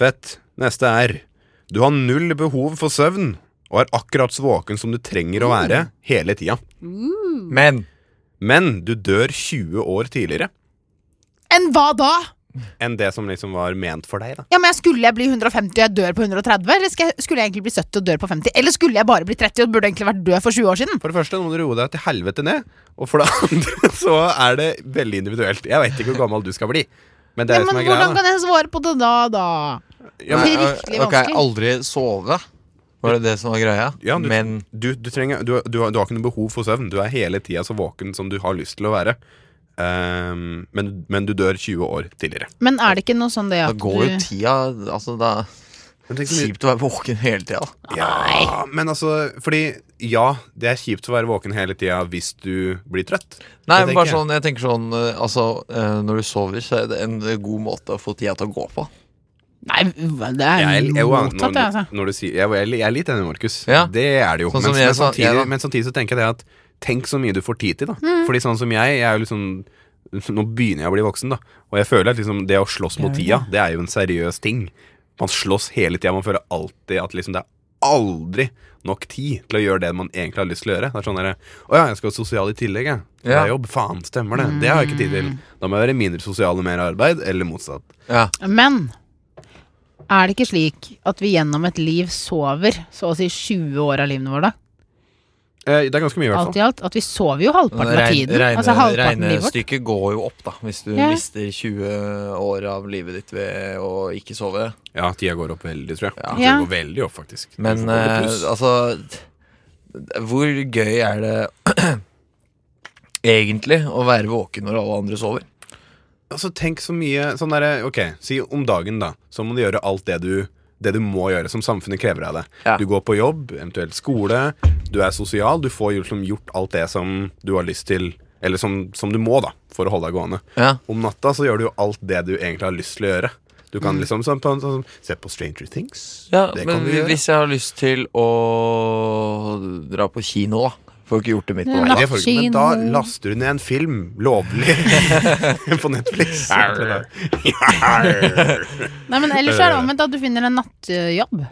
A: Fett. Neste er Du har null behov for søvn og er akkurat så våken som du trenger å være hele tida.
C: tidlig. Men
A: Men du dør 20 år tidligere
D: Enn hva da?!
A: enn det som liksom var ment for deg. da
D: Ja, men jeg Skulle jeg bli 150 og jeg dør på 130? Eller skal jeg, skulle jeg egentlig bli 70 og dør på 50? Eller skulle jeg bare bli 30 og burde egentlig vært død for 20 år siden?
A: For det første nå må du roe deg til helvete ned, og for det andre så er det veldig individuelt. Jeg veit ikke hvor gammel du skal bli. Men det
D: Ja,
A: er det
D: men
A: som er greia.
D: Hvordan kan jeg svare på det da, da?
A: Ja,
D: det
A: men,
D: er virkelig
C: eh, ok,
D: vanskelig.
C: aldri sove. Var det det som var greia?
A: Ja, du-
C: Men
A: du, du, trenger, du, du, har- du har ikke noe behov for søvn. Du er hele tida så våken som du har lyst til å være. Ehm, men, men du dør 20 år tidligere.
D: Men er det ikke noe sånn det
C: da
D: at
C: går jo
D: du
C: tida Altså, da Kjipt å være våken hele tida. da.
A: Ja, men altså, fordi ja, det er kjipt å være våken hele tida hvis du blir trøtt.
C: Nei,
A: Det
C: men
A: tenker
C: bare
A: jeg.
C: sånn, jeg tenker sånn eh, Altså, eh, når du sover, så er det en god måte å få tida til å gå på.
D: Nei, det er
A: Jeg, er- jeg, er-
D: mottatt, det, altså.
A: når, når du sier, jeg, er- jeg er litt enig med Markus.
C: Ja.
A: Det er det jo.
C: Sånn
A: men,
C: som
A: men,
C: jeg sa-
A: samtidig,
C: jeg da.
A: men samtidig så tenker jeg det at tenk så mye du får tid til. da Fordi sånn som jeg, jeg er jo liksom nå begynner jeg å bli voksen, da. Og jeg føler at liksom, det å slåss mot tida, det er jo en seriøs ting. Man slåss hele tida. Man føler alltid at liksom, det er aldri nok tid til å gjøre det man egentlig har lyst til å gjøre. Det er sånn derre Å ja, jeg skal ha sosial i tillegg, jeg. Det
C: Ja.
A: er jobb. Faen, stemmer det. Det har jeg ikke tid til. Da må jeg være mindre sosial og mer arbeid, eller motsatt.
C: Ja.
D: Men er det ikke slik at vi gjennom et liv sover så å si 20 år av livet vårt, da?
A: Eh, det er ganske mye, i hvert fall.
D: Alt i alt. At vi sover jo halvparten av
C: Regn-
D: tiden.
C: regne-
D: altså halvparten av livet vårt.
C: Regnestykket går jo opp, da, hvis du
D: Ja.
C: mister 20 år av livet ditt ved å ikke sove.
A: Ja, tida går opp veldig, tror jeg.
C: Ja.
A: Tida
D: Ja.
A: går veldig opp, faktisk.
C: Men
A: Du får
C: eh,
A: dobbelt pluss.
C: altså d- Hvor gøy er det egentlig å være våken når alle andre sover?
A: altså, tenk så mye sånn derre Ok, si om dagen, da. Så må du gjøre alt det du det du må gjøre, som samfunnet krever av deg.
C: Ja.
A: Du går på jobb, eventuelt skole, du er sosial. Du får liksom gjort alt det som du har lyst til, eller som, som du må, da, for å holde deg gående.
C: Ja.
A: Om natta så gjør du jo alt det du egentlig har lyst til å gjøre. Du kan liksom sånn, på en sånn, se på Stranger Things.
C: Mm. Ja,
A: Det kan
C: men
A: du gjøre.
C: hvis jeg har lyst til å dra på kino, da. Får ikke gjort det midt på
D: Nei,
A: Nei,
C: natta.
A: det får du ikke, men da
D: Lattkino.
A: laster du ned en film lovlig på Netflix.
C: Arr.
D: Nei, men ellers er det omvendt at du finner en nattjobb.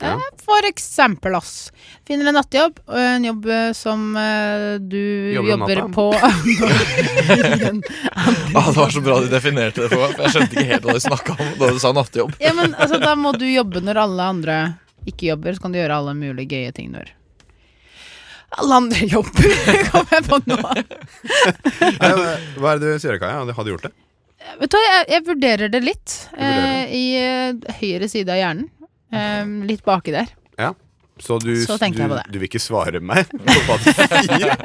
A: Ja.
D: Eh, For eksempel oss. Finner en nattjobb, og en jobb eh, som eh, du
A: Jobber om
D: jobber
A: natta.
D: på
C: Ah, det var så bra du definerte det for meg, for jeg skjønte ikke helt hva du snakka om da du sa nattjobb.
D: Ja, men altså, da må du jobbe når alle andre ikke jobber, så kan du gjøre alle mulige gøye ting når alle andre jobber, kom jeg på nå.
A: Nei, hva- Hva er det du sier, Kaja? Hadde- Hadde du gjort det?
D: Vet du hva, jeg, jeg vurderer det litt.
A: vurderer
D: Eh, I eh, høyre side av hjernen. Eh, litt baki der.
A: Ja. Så du,
D: Så tenker
A: du,
D: jeg på det.
A: du vil ikke svare meg på hva du sier?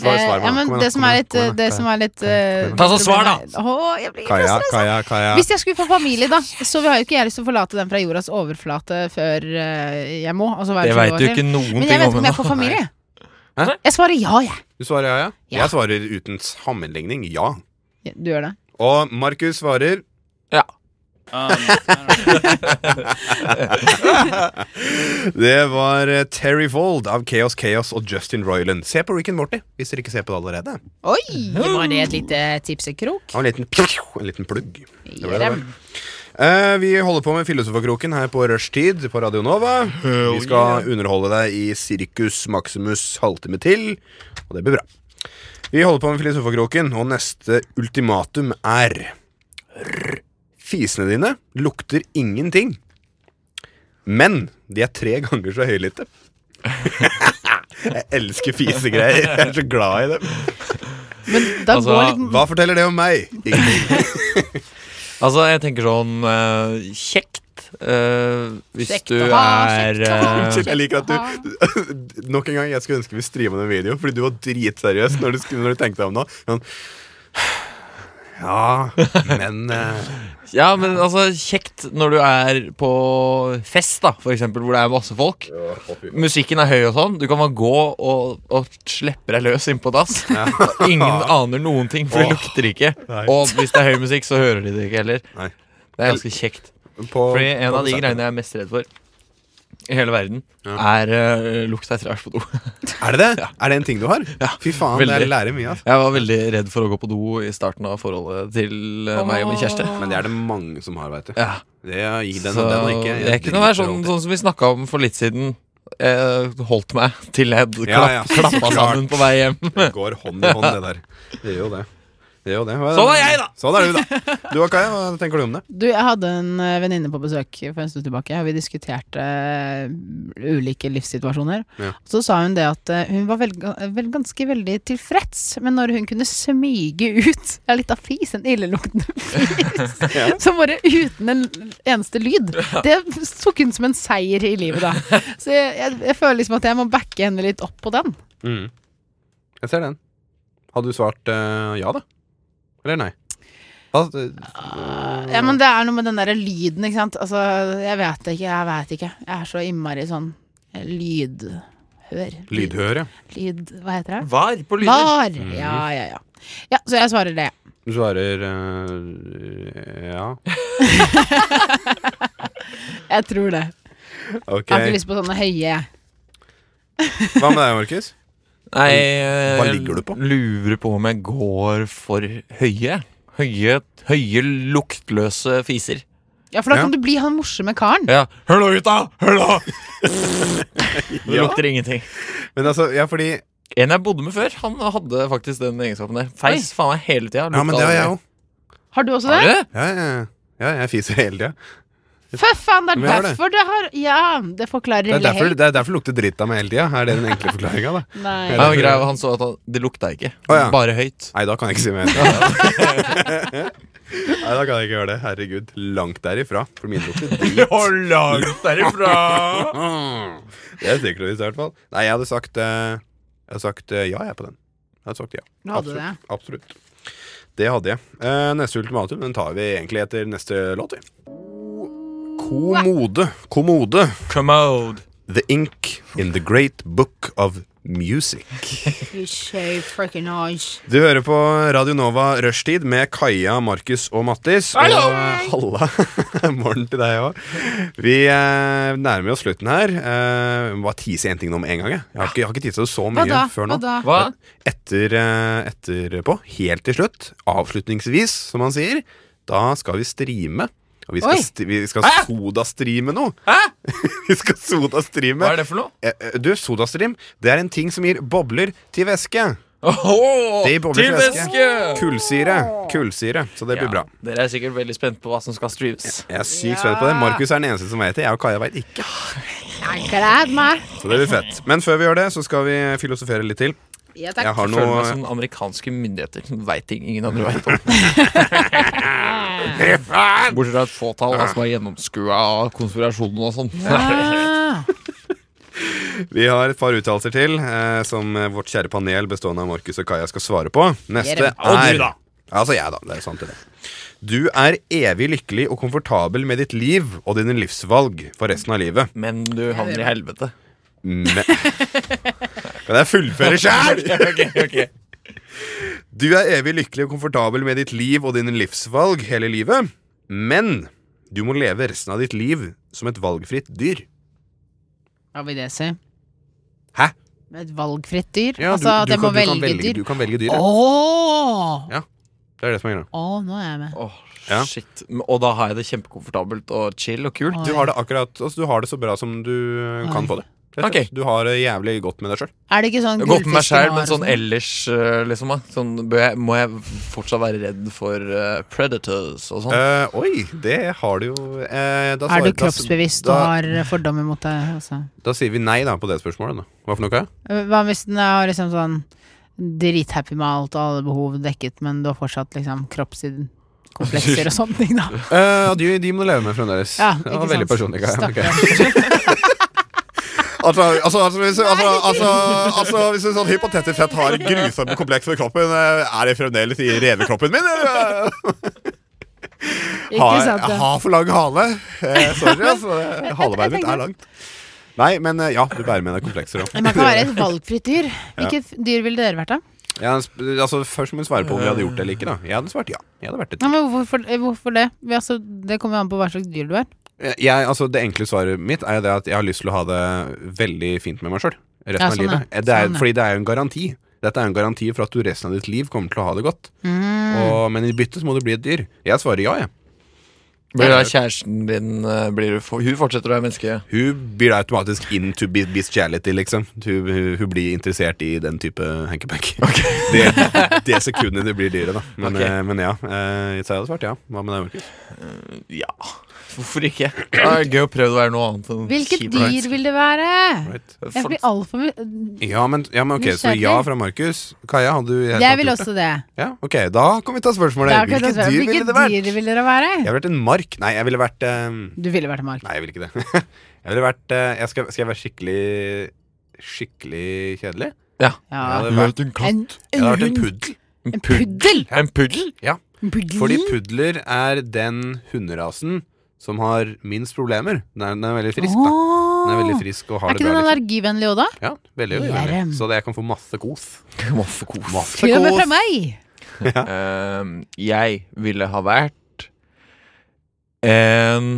A: Svar,
D: Eh,
A: svar meg.
D: ja, men
A: Kom igjen,
D: det som
A: kom
D: er
A: igjen,
D: litt,
A: kom igjen,
D: det
A: Kaja.
D: som er litt eh,
C: Ta så svar, da.
D: Åh, jeg blir
A: Kaja,
D: så stressa.
A: Kaja, Kaja.
D: sånn. Hvis jeg skulle få familie, da, så har jo ikke jeg lyst til å forlate den fra jordas overflate før eh, jeg må. Altså være
C: Det
D: 20
C: veit
D: år
C: du
D: til.
C: ikke noen
D: Men jeg
C: ting om
D: vet ikke om jeg
C: ennå.
D: får familie.
A: Hæ?
D: Jeg svarer ja, jeg.
A: Du svarer ja, ja?
D: Ja.
A: Jeg svarer uten sammenligning ja.
D: Du gjør det.
A: Og Markus svarer
C: Ja.
F: Um, I don't know.
A: Det var eh, Terry Vold av Chaos Chaos og Justin Roiland. Se på Rick and Morty hvis dere ikke ser på det allerede.
D: Oi! Var det et lite tipsekrok?
A: Og en liten, en liten plugg. Det ble det
D: Jerem.
A: Eh, vi holder på med Filosofankroken her på rushtid på Radio Nova. Vi skal underholde deg i Sirkus Maximus halvtime til, og det blir bra. Vi holder på med Filosofankroken, og neste ultimatum er Rr. Fisene dine lukter ingenting, men de er tre ganger så høylytte. Jeg elsker fisegreier. Jeg er så glad i dem.
D: Men da
C: Altså,
D: går litt
A: Hva forteller det om meg? Ingenting.
C: Altså, jeg tenker sånn eh, kjekt. eh, hvis
D: Kjekt
C: du
D: å ha,
C: er
D: kjekt å ha.
C: eh,
A: Shit, Jeg liker at du Nok en gang, jeg skulle ønske vi streama den videoen, fordi du var dritseriøs når du, skulle- når du tenkte deg om nå. Sånn, ja, men eh,
C: Ja, men altså kjekt når du er på fest, da, for eksempel, hvor det er masse folk. Musikken er høy og sånn. Du kan bare gå og, og slippe deg løs innpå dass. Og Ingen aner noen ting, for det
A: Åh.
C: lukter ikke.
A: Nei.
C: Og hvis det er høy musikk, så hører de det ikke heller.
A: Nei.
C: Det er ganske kjekt.
A: på,
C: Fordi en av de
A: på-
C: greiene jeg er mest redd for i hele verden, er eh, lukt av trash på do.
A: Er det det? Er det en ting du har? Fy faen, det
C: veldig.
A: lærer mye, altså.
C: Jeg var veldig redd for å gå på do i starten av forholdet til eh, meg og min kjæreste.
A: Men det er det mange som har, veit du.
C: Ja.
A: Det er- gikk den
C: Så
A: og den og ikke.
C: jeg, kunne være sånn, sånn som vi snakka om for litt siden. Jeg holdt meg til jeg klapp,
A: Ja, ja, så
C: klappa
A: klart.
C: sammen på vei hjem.
A: Det går hånd i hånd, det der. Det gjør jo det. det, gjør jo det. Hva
C: Sånn er jeg, da!
A: Sånn er du, da. Du og Kaja, hva tenker du om det?
D: Du, jeg hadde en eh, venninne på besøk for en stund tilbake, og vi diskuterte eh, ulike livssituasjoner.
A: Ja.
D: Så sa hun det at eh, hun var vel, vel ganske veldig tilfreds, men når hun kunne smyge ut ja, litt av fis, en illeluktende fis, så bare uten en eneste lyd, det tok hun som en seier i livet da. Så jeg, jeg, jeg føler liksom at jeg må backe henne litt opp på den.
A: Jeg ser den. Hadde du svart eh, ja, da? Eller nei? Altså,
D: Ja, men det er noe med den der lyden, ikke sant? Altså, jeg vet ikke, jeg vet ikke. Jeg er så innmari sånn eh, lydhør.
A: lydhøre.
D: Lyd, hva heter det?
C: Var på
D: Var!
A: Mm.
D: Ja, ja, ja. Ja, så jeg svarer det.
A: Du svarer eh, ja.
D: Jeg tror det.
A: Ok.
D: Jeg har ikke lyst på sånne høye.
A: Hva med deg, Markus?
C: Nei, eh,
A: Hva ligger du på?
C: Lurer på om jeg går for høye. Høye, høye luktløse fiser.
D: Ja, for da kan
A: Ja.
D: du bli han morsomme karen.
C: Ja. Hør nå, gutta! Hør nå! Det lukter ingenting.
A: Men altså, ja, fordi
C: En jeg bodde med før, han hadde faktisk den egenskapen der. Feis faen meg hele tida.
A: Ja, men det har jeg òg.
D: Har du også det?
C: òg.
A: Ja, ja, ja. ja, jeg fiser hele tida.
D: Fy faen, det er
A: Vi har det.
D: derfor det har Ja, det forklarer
A: Det er
D: hele
A: derfor
D: helt.
A: det er derfor det lukter dritt av meg hele tida. Er det den enkle forklaringa, da?
D: Nei.
C: Nei, men greia, han så at han, det lukta ikke.
A: Å, ja.
C: Bare høyt.
A: Nei, da kan jeg ikke si mer. Nei, da kan jeg ikke gjøre det. Herregud. Langt derifra. For min lukter drit.
C: langt derifra!
A: Det er sikkert og visst, i hvert fall. Nei, jeg hadde sagt, eh, jeg hadde sagt eh, ja, jeg, på den. Jeg hadde sagt ja.
D: Du hadde det.
A: Absolutt. Absolutt. Det hadde jeg. Eh, neste ultimatum den tar vi egentlig etter neste låt, vi. Kommode. Kommode.
C: Commode.
A: The ink in the great book of music.
D: You shave freaking eyes.
A: Du hører på Radio Nova Rushtid med Kaja, Markus og Mattis.
C: Hallo!
A: Og halla. Morgen til deg òg. Vi eh, nærmer oss slutten her. Eh, jeg må bare tise én ting nå med en gang. Jeg, jeg har ikke, jeg har ikke tisa så mye
D: Hva da?
A: før
D: Hva
A: nå.
D: da?
C: Hva?
A: Etter, eh, etterpå, helt til slutt, avslutningsvis, som han sier, da skal vi streame. Og vi
D: Oi. Ah,
A: skal, st vi skal sodastreame nå.
C: Hæ?
A: vi skal sodastreame.
C: Hva er det for noe?
A: Eh, eh, Du, sodastream, det er en ting som gir bobler til væske.
C: Åhå,
A: Det gir bobler
C: til
A: til væske.
C: væske!
A: Kullsyre. Kullsyre. Så det blir bra.
C: Dere er sikkert veldig spent på hva som skal streames.
A: Jeg er sykt spent på det. Markus er den eneste som vet det. Jeg og Kaja veit ikke.
D: Jeg gleder meg.
A: Så det blir fett. Men før vi gjør det, så skal vi filosofere litt til.
D: Ja,
A: Jeg
D: takk.
A: har
C: Jeg føler meg sånn.
A: noe
C: som amerikanske myndigheter som veit ting ingen andre veit om. Bortsett fra et fåtall da, som har gjennomskua konspirasjonen og sånn.
D: Ah,
A: Vi har et par uttalelser til eh, som eh, vårt kjære panel bestående av Markus og Kaja skal svare på. Neste
D: Jerem.
A: er Altså jeg, da. Det er sant, det. Du er evig lykkelig og komfortabel med ditt liv og dine livsvalg for resten av livet.
C: Men du havner i helvete.
A: Men Kan jeg fullføre sjæl?! Du er evig lykkelig og komfortabel med ditt liv og dine livsvalg hele livet. Men Du må leve resten av ditt liv som et valgfritt dyr.
D: Hva vil det si?
A: Hæ?
D: Et valgfritt dyr?
A: Ja,
D: altså at jeg må
A: kan
D: velge dyr?
A: Du kan velge dyr.
D: Åh
A: ja.
D: Åh,
A: Det er det som er greia.
D: nå er jeg med.
C: Åh,
A: Ja.
C: shit. Og da har jeg det kjempekomfortabelt og chill og kult.
D: Åh,
A: Du
D: ja.
A: har det akkurat altså, Du har det så bra som du eh, kan få det. Rett og
C: Ok.
A: slett. Du har det jævlig godt med deg sjøl.
D: Er det ikke sånn
C: Jeg har gått med meg
D: gullfisken
C: selv,
D: har
C: men
D: og
C: sånn
D: sånn?
C: ellers eh, liksom, da. sånn, bør jeg, Må jeg fortsatt være redd for eh, predators og sånn?
A: Eh, oi, det har du jo eh, da
D: Er
A: svar-
D: du
A: da s-
D: kroppsbevisst og
A: da,
D: har eh, fordommer mot deg? Også?
A: da sier vi nei da på det spørsmålet. Da. Hva for noe?
D: Hva hvis den er liksom sånn drithappy med alt og alle behov dekket, men du har fortsatt liksom kroppskomplekser og sånne ting, da?
A: Eh, de, de må du leve med fremdeles.
D: Ja,
A: det
D: ikke
A: var veldig
D: sant.
A: personlig. Kaja. Ok.
D: Stakkars.
A: Altså, altså, altså, hvis, altså, altså, altså Hvis du sånn hypotetisk sett har grusomme komplekser i kroppen, eh, er det fremdeles i revekroppen min? Eller? eh,
D: Ikke
A: Har,
D: sant?
A: jeg
D: Ja.
A: har for lang hale. Eh, sorry, altså. Halebeinet mitt er langt. Nei, men eh, ja, du bærer med deg komplekser òg.
D: Men Man kan være et valgfritt dyr. Hvilket dyr ville dere vært, da?
A: Ja, sp- altså, først må vi svare på om vi hadde gjort det eller ikke. da Jeg hadde svart ja. Jeg hadde vært et
D: Ja, men hvorfor, eh, hvorfor det? Vi, altså, det kommer jo an på hva slags dyr du er.
A: jeg, altså, Det enkle svaret mitt er jo det at jeg har lyst til å ha det veldig fint med meg sjøl. Resten
D: Ja,
A: av
D: sånn, ja.
A: livet. Eh, Det er,
D: Sånn, ja.
A: Fordi det er jo en garanti. Dette er jo en garanti for at du resten av ditt liv kommer til å ha det godt.
D: Mm.
A: Og, men i bytte så må du bli et dyr. Jeg svarer ja, jeg.
C: Blir da kjæresten din eh, blir, du- Hun fortsetter å være menneske?
A: Hun blir automatisk into bi- bestiality, liksom. Hun, hun, hun blir interessert i den type hanky-panky. Det, det sekundet det blir dyret, da. Men,
C: Ok.
A: eh, men ja. Eh, så jeg hadde svart ja. Hva med deg, Markus?
C: Ja. Hvorfor ikke? Det er gøy å prøve å være noe annet enn
D: Hvilket
C: kjip
D: dyr vil det være?
A: Right.
D: Jeg
C: For,
D: blir altfor
A: Ja, men, ja, men ok, så
D: Mm. Nysgjerrig.
A: ja fra Markus. Kaja, hadde du i hele
D: Jeg
A: tatt
D: vil
A: gjort det?
D: også det.
A: Ja, ok, da kan vi ta spørsmålet.
D: Da kan jeg
A: Hvilket dyr
D: ta svaret.
A: ville det
D: Hvilket
A: vært?
D: dyr vil dere være?
A: Jeg ville vært en mark. Nei, jeg ville vært eh,
D: Du ville vært en mark.
A: Nei, jeg ville ikke det. jeg ville vært eh, jeg skal, skal jeg være skikkelig Skikkelig kjedelig?
C: ja.
D: Ja.
A: Jeg hadde vært,
C: Møt en katt.
D: En,
A: jeg
D: en,
A: hadde vært en
D: hund.
A: puddel.
D: En puddel!
C: En puddel?
D: En puddel.
A: Fordi pudler er den hunderasen som har minst problemer. Den er, den er veldig frisk, da. Den er veldig frisk og har
D: Er
A: det
D: ikke
A: bra.
D: den
A: Liksom.
D: allergivennlig òg, da?
A: Ja, veldig, veldig,
D: Ja, dem.
A: veldig. Så det, jeg kan få masse kos.
C: Masse kos.
A: Masse
D: Prøv
A: kos.
D: fra meg!
C: Ehm, jeg ville ha vært en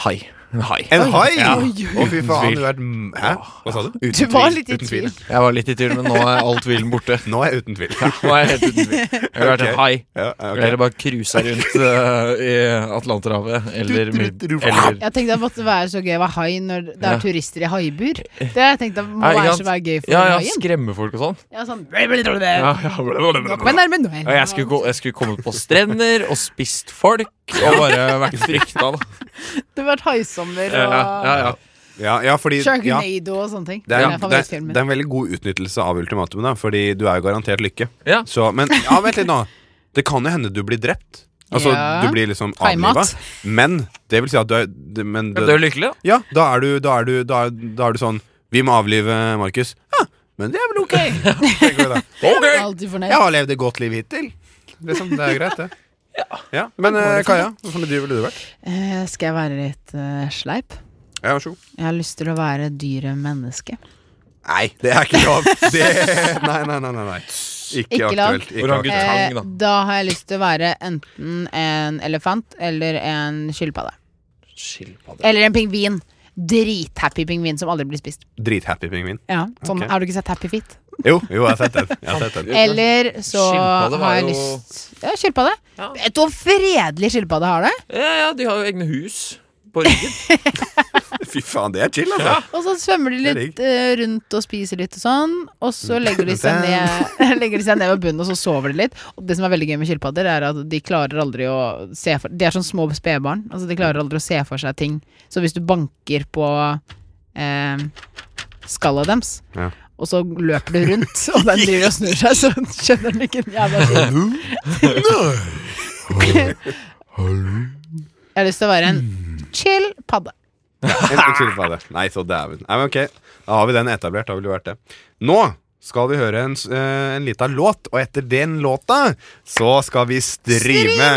C: hai. En hai.
A: En hai!
C: Ja.
A: Å, fy faen. Du
C: tvil.
A: har vært m- Hæ? Hva sa du? Uten
D: Du var
A: tvil,
D: litt i
A: uten tvil.
C: Jeg var litt i tvil, men nå er all tvilen borte.
A: Nå er jeg uten tvil.
C: Nå er jeg helt uten tvil. Jeg ville vært
A: Ok.
C: en hai.
A: Ja,
C: Okay. Eller bare cruisa rundt eh, i Atlanterhavet. Eller, mid- eller
D: Jeg tenkte det måtte være så gøy å være hai når det er
C: Ja.
D: turister i haibur. Det har jeg tenkt det må
C: Ja, ikke
D: være
C: sant?
D: så være gøy for
C: Ja, ja,
D: haien.
C: skremme folk og sånn.
D: Ja, sånn
C: Ja,
D: Nå
C: ja.
D: kommer jeg nærme nå.
C: Ja, jeg, skulle gå, jeg skulle kommet på strender og spist folk og bare vært frykta, da.
D: Det har vært haisommer
C: Ja,
D: og
C: ja, ja.
A: Ja, ja, fordi ja,
D: Sharknado og sånne ting.
A: det, er,
D: Det er
A: det, er,
D: favorittfilmen
A: det er en veldig god utnyttelse av ultimatum, da, fordi du er jo garantert lykke.
C: Ja.
A: Så, men ja, vent litt nå. Det kan jo hende du blir drept. Altså,
D: Ja.
A: du blir liksom
D: Heimat.
A: avliva. Men det vil si at du er det- men
C: Du er
A: det,
C: lykkelig, da.
A: Ja, da er du, da er du, da er, da er du sånn Vi må avlive Markus. Ja, men det er vel ok. tenker du da.
D: Jeg er
C: Ok!
D: Alltid fornøyd.
A: Jeg har levd et godt liv hittil. Liksom, det er greit, det. Ja. Men eh, Kaja, hvorfor dyr ville du vært?
D: Eh, skal jeg være litt eh, sleip?
A: Ja, vær så god.
D: Jeg har lyst til å være dyret menneske.
A: Nei, det er ikke lov. Det, nei, nei, nei, nei, nei. Ikke,
D: Ikke lov.
A: aktuelt. Ikke
C: Orangutang.
A: aktuelt.
D: Eh,
C: Tang, da.
D: da har jeg lyst til å være enten en elefant eller en skilpadde.
C: Skilpadde.
D: Eller en pingvin. Drithappy pingvin som aldri blir spist.
A: Drithappy pingvin.
D: Ja, sånn,
A: Ok.
D: Har du ikke sett Happy Feet?
A: Jo, jo, jeg har sett den. Jeg har sett den.
D: Eller så
C: Skilpadde var
D: har jeg
C: jo-
D: lyst Ja, skilpadde.
C: Ja.
D: Vet du hvor fredelig skilpadde har det?
C: Ja, ja, de har jo egne hus på ryggen.
A: Fy faen, det er chill, altså.
D: Og så svømmer de
A: Det er Mm.
D: litt eh, rundt og spiser litt og sånn. Og så legger de seg ned Legger de seg ned ved bunnen, og så sover de litt. Og det som er veldig gøy med skilpadder, er at de klarer aldri å se for De er sånn små spedbarn. Altså de klarer aldri å se for seg ting. Så hvis du banker på eh, skallet deres,
A: Ja.
D: og så løper du rundt, og den driver og snur seg, så skjønner den ikke en jævla dritt. Jeg har lyst til å være en
A: Hmm.
D: chill padde.
A: En skilpadde. Nei, så dæven. Nei, men ok, da har vi den etablert. Da ville det vært det. Nå skal vi høre en, s- eh, en lita låt, og etter den låta så skal vi streame.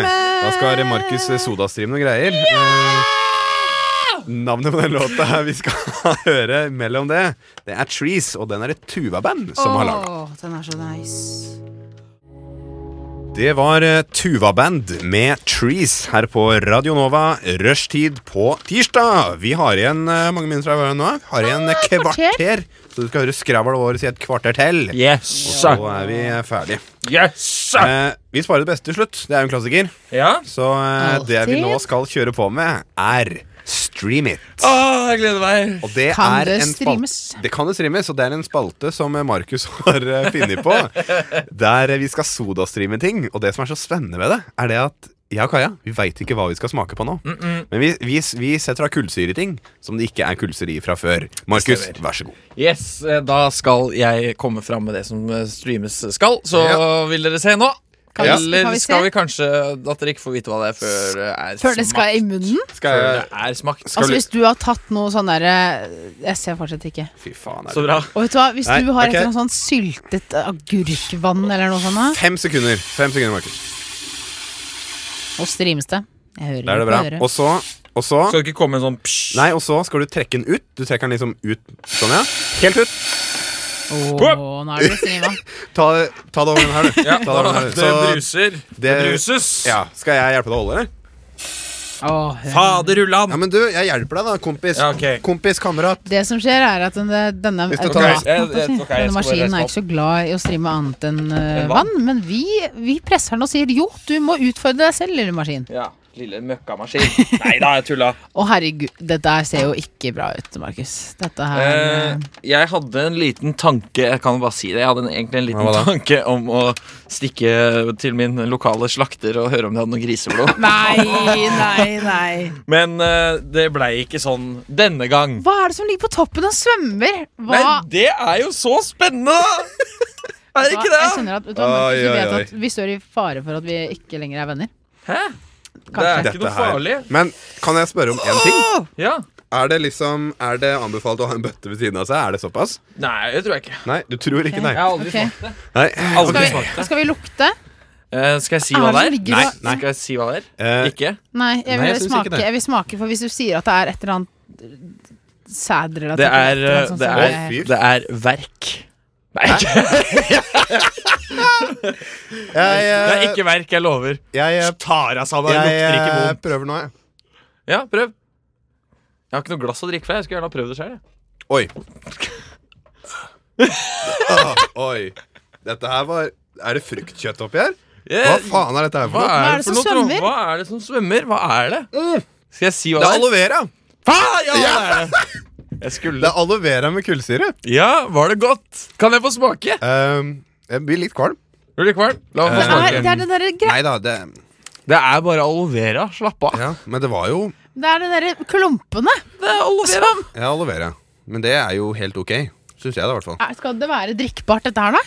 A: Da skal Markus eh, sodastreame noen greier. Eh, Navnet på den låta vi skal høre mellom det, det er Trees, og den er et Tuva-band som har laga.
D: Åh, den er så nice.
A: Det var eh, Tuva-band med Trees her på Radio Nova. Rushtid på tirsdag. Vi har igjen eh, mange minutter av nå. Har igjen eh, kvarter. Så du skal høre skravl vår i et kvarter til.
C: Yes!
A: Så er vi eh, ferdig.
C: Yes!
A: Eh, vi sparer det beste til slutt. Det er jo en klassiker.
C: Ja?
A: Så eh, det vi nå skal kjøre på med, er Stream it.
C: Åh, jeg gleder meg.
A: Og det
D: Kan
A: er
D: det
A: en spal-
D: streames?
A: Det kan det streames, og det er en spalte som eh, Markus har eh, funnet på. Der eh, vi skal sodastreame ting. Og det som er så spennende med det, er det at jeg og Kaja vi veit ikke hva vi skal smake på nå. Men vi, vi, vi setter av kullsyre i ting som det ikke er kullsyre i fra før. Markus,
C: Det stemmer.
A: vær så god.
C: Yes, eh, da skal jeg komme fram med det som eh, streames skal. Så
A: Ja.
C: vil dere se nå.
D: Kan vi-
C: Eller
D: kan vi se?
C: skal vi kanskje at dere ikke får vite hva det er før det er
D: Før det skal i
C: smakt?
D: munnen?
A: Skal
C: Før
A: jeg
C: det er smakt.
D: Altså Hvis du har tatt noe sånn derre Jeg ser fortsatt ikke.
A: Fy faen. Er
C: Så
A: det.
C: bra.
D: Og vet du hva, Hvis
A: Nei,
D: du har
A: ok.
D: et eller annet sånn syltet agurkvann eller noe sånt, da,
A: Fem sekunder, Fem sekunder, Markus.
D: og streames det Jeg hører
A: Da er det
D: ikke
A: bra.
D: på øret.
A: Og så, og så
C: Skal det ikke komme en sånn psj?
A: Nei, og så skal du trekke den ut. Du trekker den liksom ut sånn, ja. Helt ut.
D: Åh, nå er det streama.
A: Ta, ta det over den her, du.
C: Ja,
A: Ta det over den her.
C: det
A: Så-
C: bruser. Det
A: det-
C: bruses.
A: Ja, Skal jeg hjelpe deg å holde, eller?
D: Åh, hør.
A: Ja,
C: Faderullan.
A: men du, jeg hjelper deg, da, kompis.
C: Ja, ok.
A: Kompis, kamerat.
D: Det som skjer, er at denne, denne
A: Hvis du tar-
C: Jeg-
D: automaten,
C: jeg-
D: holdt jeg på å si,
C: ok, jeg skal
D: denne
C: bare
D: maskinen
C: reise
D: er
C: meg
D: ikke så glad i å streame annet enn eh,
C: Enn vann?
D: vann, men vi, vi presser den og sier jo, du må utfordre deg selv, lille maskin.
C: Ja, lille møkkamaskin. Nei da, jeg tulla.
D: Å herregud, dette her ser jo ikke bra ut, Markus. Dette her eh,
C: Eh, jeg hadde en liten tanke Jeg kan bare si det. Jeg hadde en, egentlig en liten tanke om å stikke til min lokale slakter og høre om de hadde noe griseblod.
D: Nei, nei, nei.
C: Men eh, det blei ikke sånn denne gang.
D: Hva er det som ligger på toppen og svømmer? Hva?
C: Men det er jo så spennende! da! Er det
D: Hva-
C: ikke
D: Jeg
C: det?
D: skjønner at, vet du, hva, Markus,
A: Oi,
D: du
A: oi,
D: vet
A: oi.
D: at vi står i fare for at vi ikke lenger er venner.
C: Hæ? Det er ikke noe farlig.
A: Men kan jeg spørre om én ting?
C: Ja.
A: Er det liksom, er det anbefalt å ha en bøtte ved siden av seg? Er det såpass?
C: Nei, det tror jeg ikke.
A: Nei, du tror ikke, nei.
C: Jeg har aldri
D: Ok.
C: smakt det.
A: nei.
C: Aldri
D: Skal
C: smakt
D: vi,
C: det.
D: skal vi lukte?
C: Eh, skal jeg si
D: Er
C: hva
D: det
C: det
D: som
C: er?
D: ligger Nei,
A: nei.
C: Skal jeg si hva det er?
A: Eh,
C: Ikke?
D: Nei,
A: Nei,
D: jeg vil,
A: jeg syns ikke
D: smake,
A: det.
D: jeg vil smake, for hvis du sier at det er et eller annet sædrelatert
C: Det er, sånn
D: et eller annet sånt,
C: det
D: så
C: er,
A: Å, fy.
C: det er verk. Nei,
A: Jeg,
C: det er
A: eh,
C: ikke verk, jeg lover.
A: jeg, eh,
C: Tar av seg det,
A: jeg,
C: lukter ikke
A: eh,
C: vondt.
A: prøver nå, jeg.
C: Ja, prøv. Jeg har ikke noe glass å drikke fra. Jeg skulle gjerne ha prøvd det sjøl.
A: Oi. Ah, oi. Dette her var Er det fruktkjøtt oppi her?
C: Eh,
A: Hva faen er dette her for noe?
D: Hva er det som svømmer?
C: Hva er det som svømmer? Hva er det? Skal jeg si
A: Det er
C: hva det er?
A: aloe vera.
C: Faen, Mm, ja, det er det. Jeg
A: Det
C: skulle
A: er aloe vera med kullsyre.
C: Ja, var det godt? Kan jeg få smake?
A: Ehm, jeg blir litt kvalm.
C: Blir du kvalm? La meg få
D: Det er,
C: smake.
D: det er den derre gre-
A: Nei da, det
C: Det er bare aloe vera. Slapp av.
A: Ja, men det var jo
D: det er de derre klumpene.
C: Det er aloe vera.
A: Ja, aloe vera. Men det er jo helt ok. Syns jeg, da, i hvert fall.
D: Er- Skal det være drikkbart, dette her, da?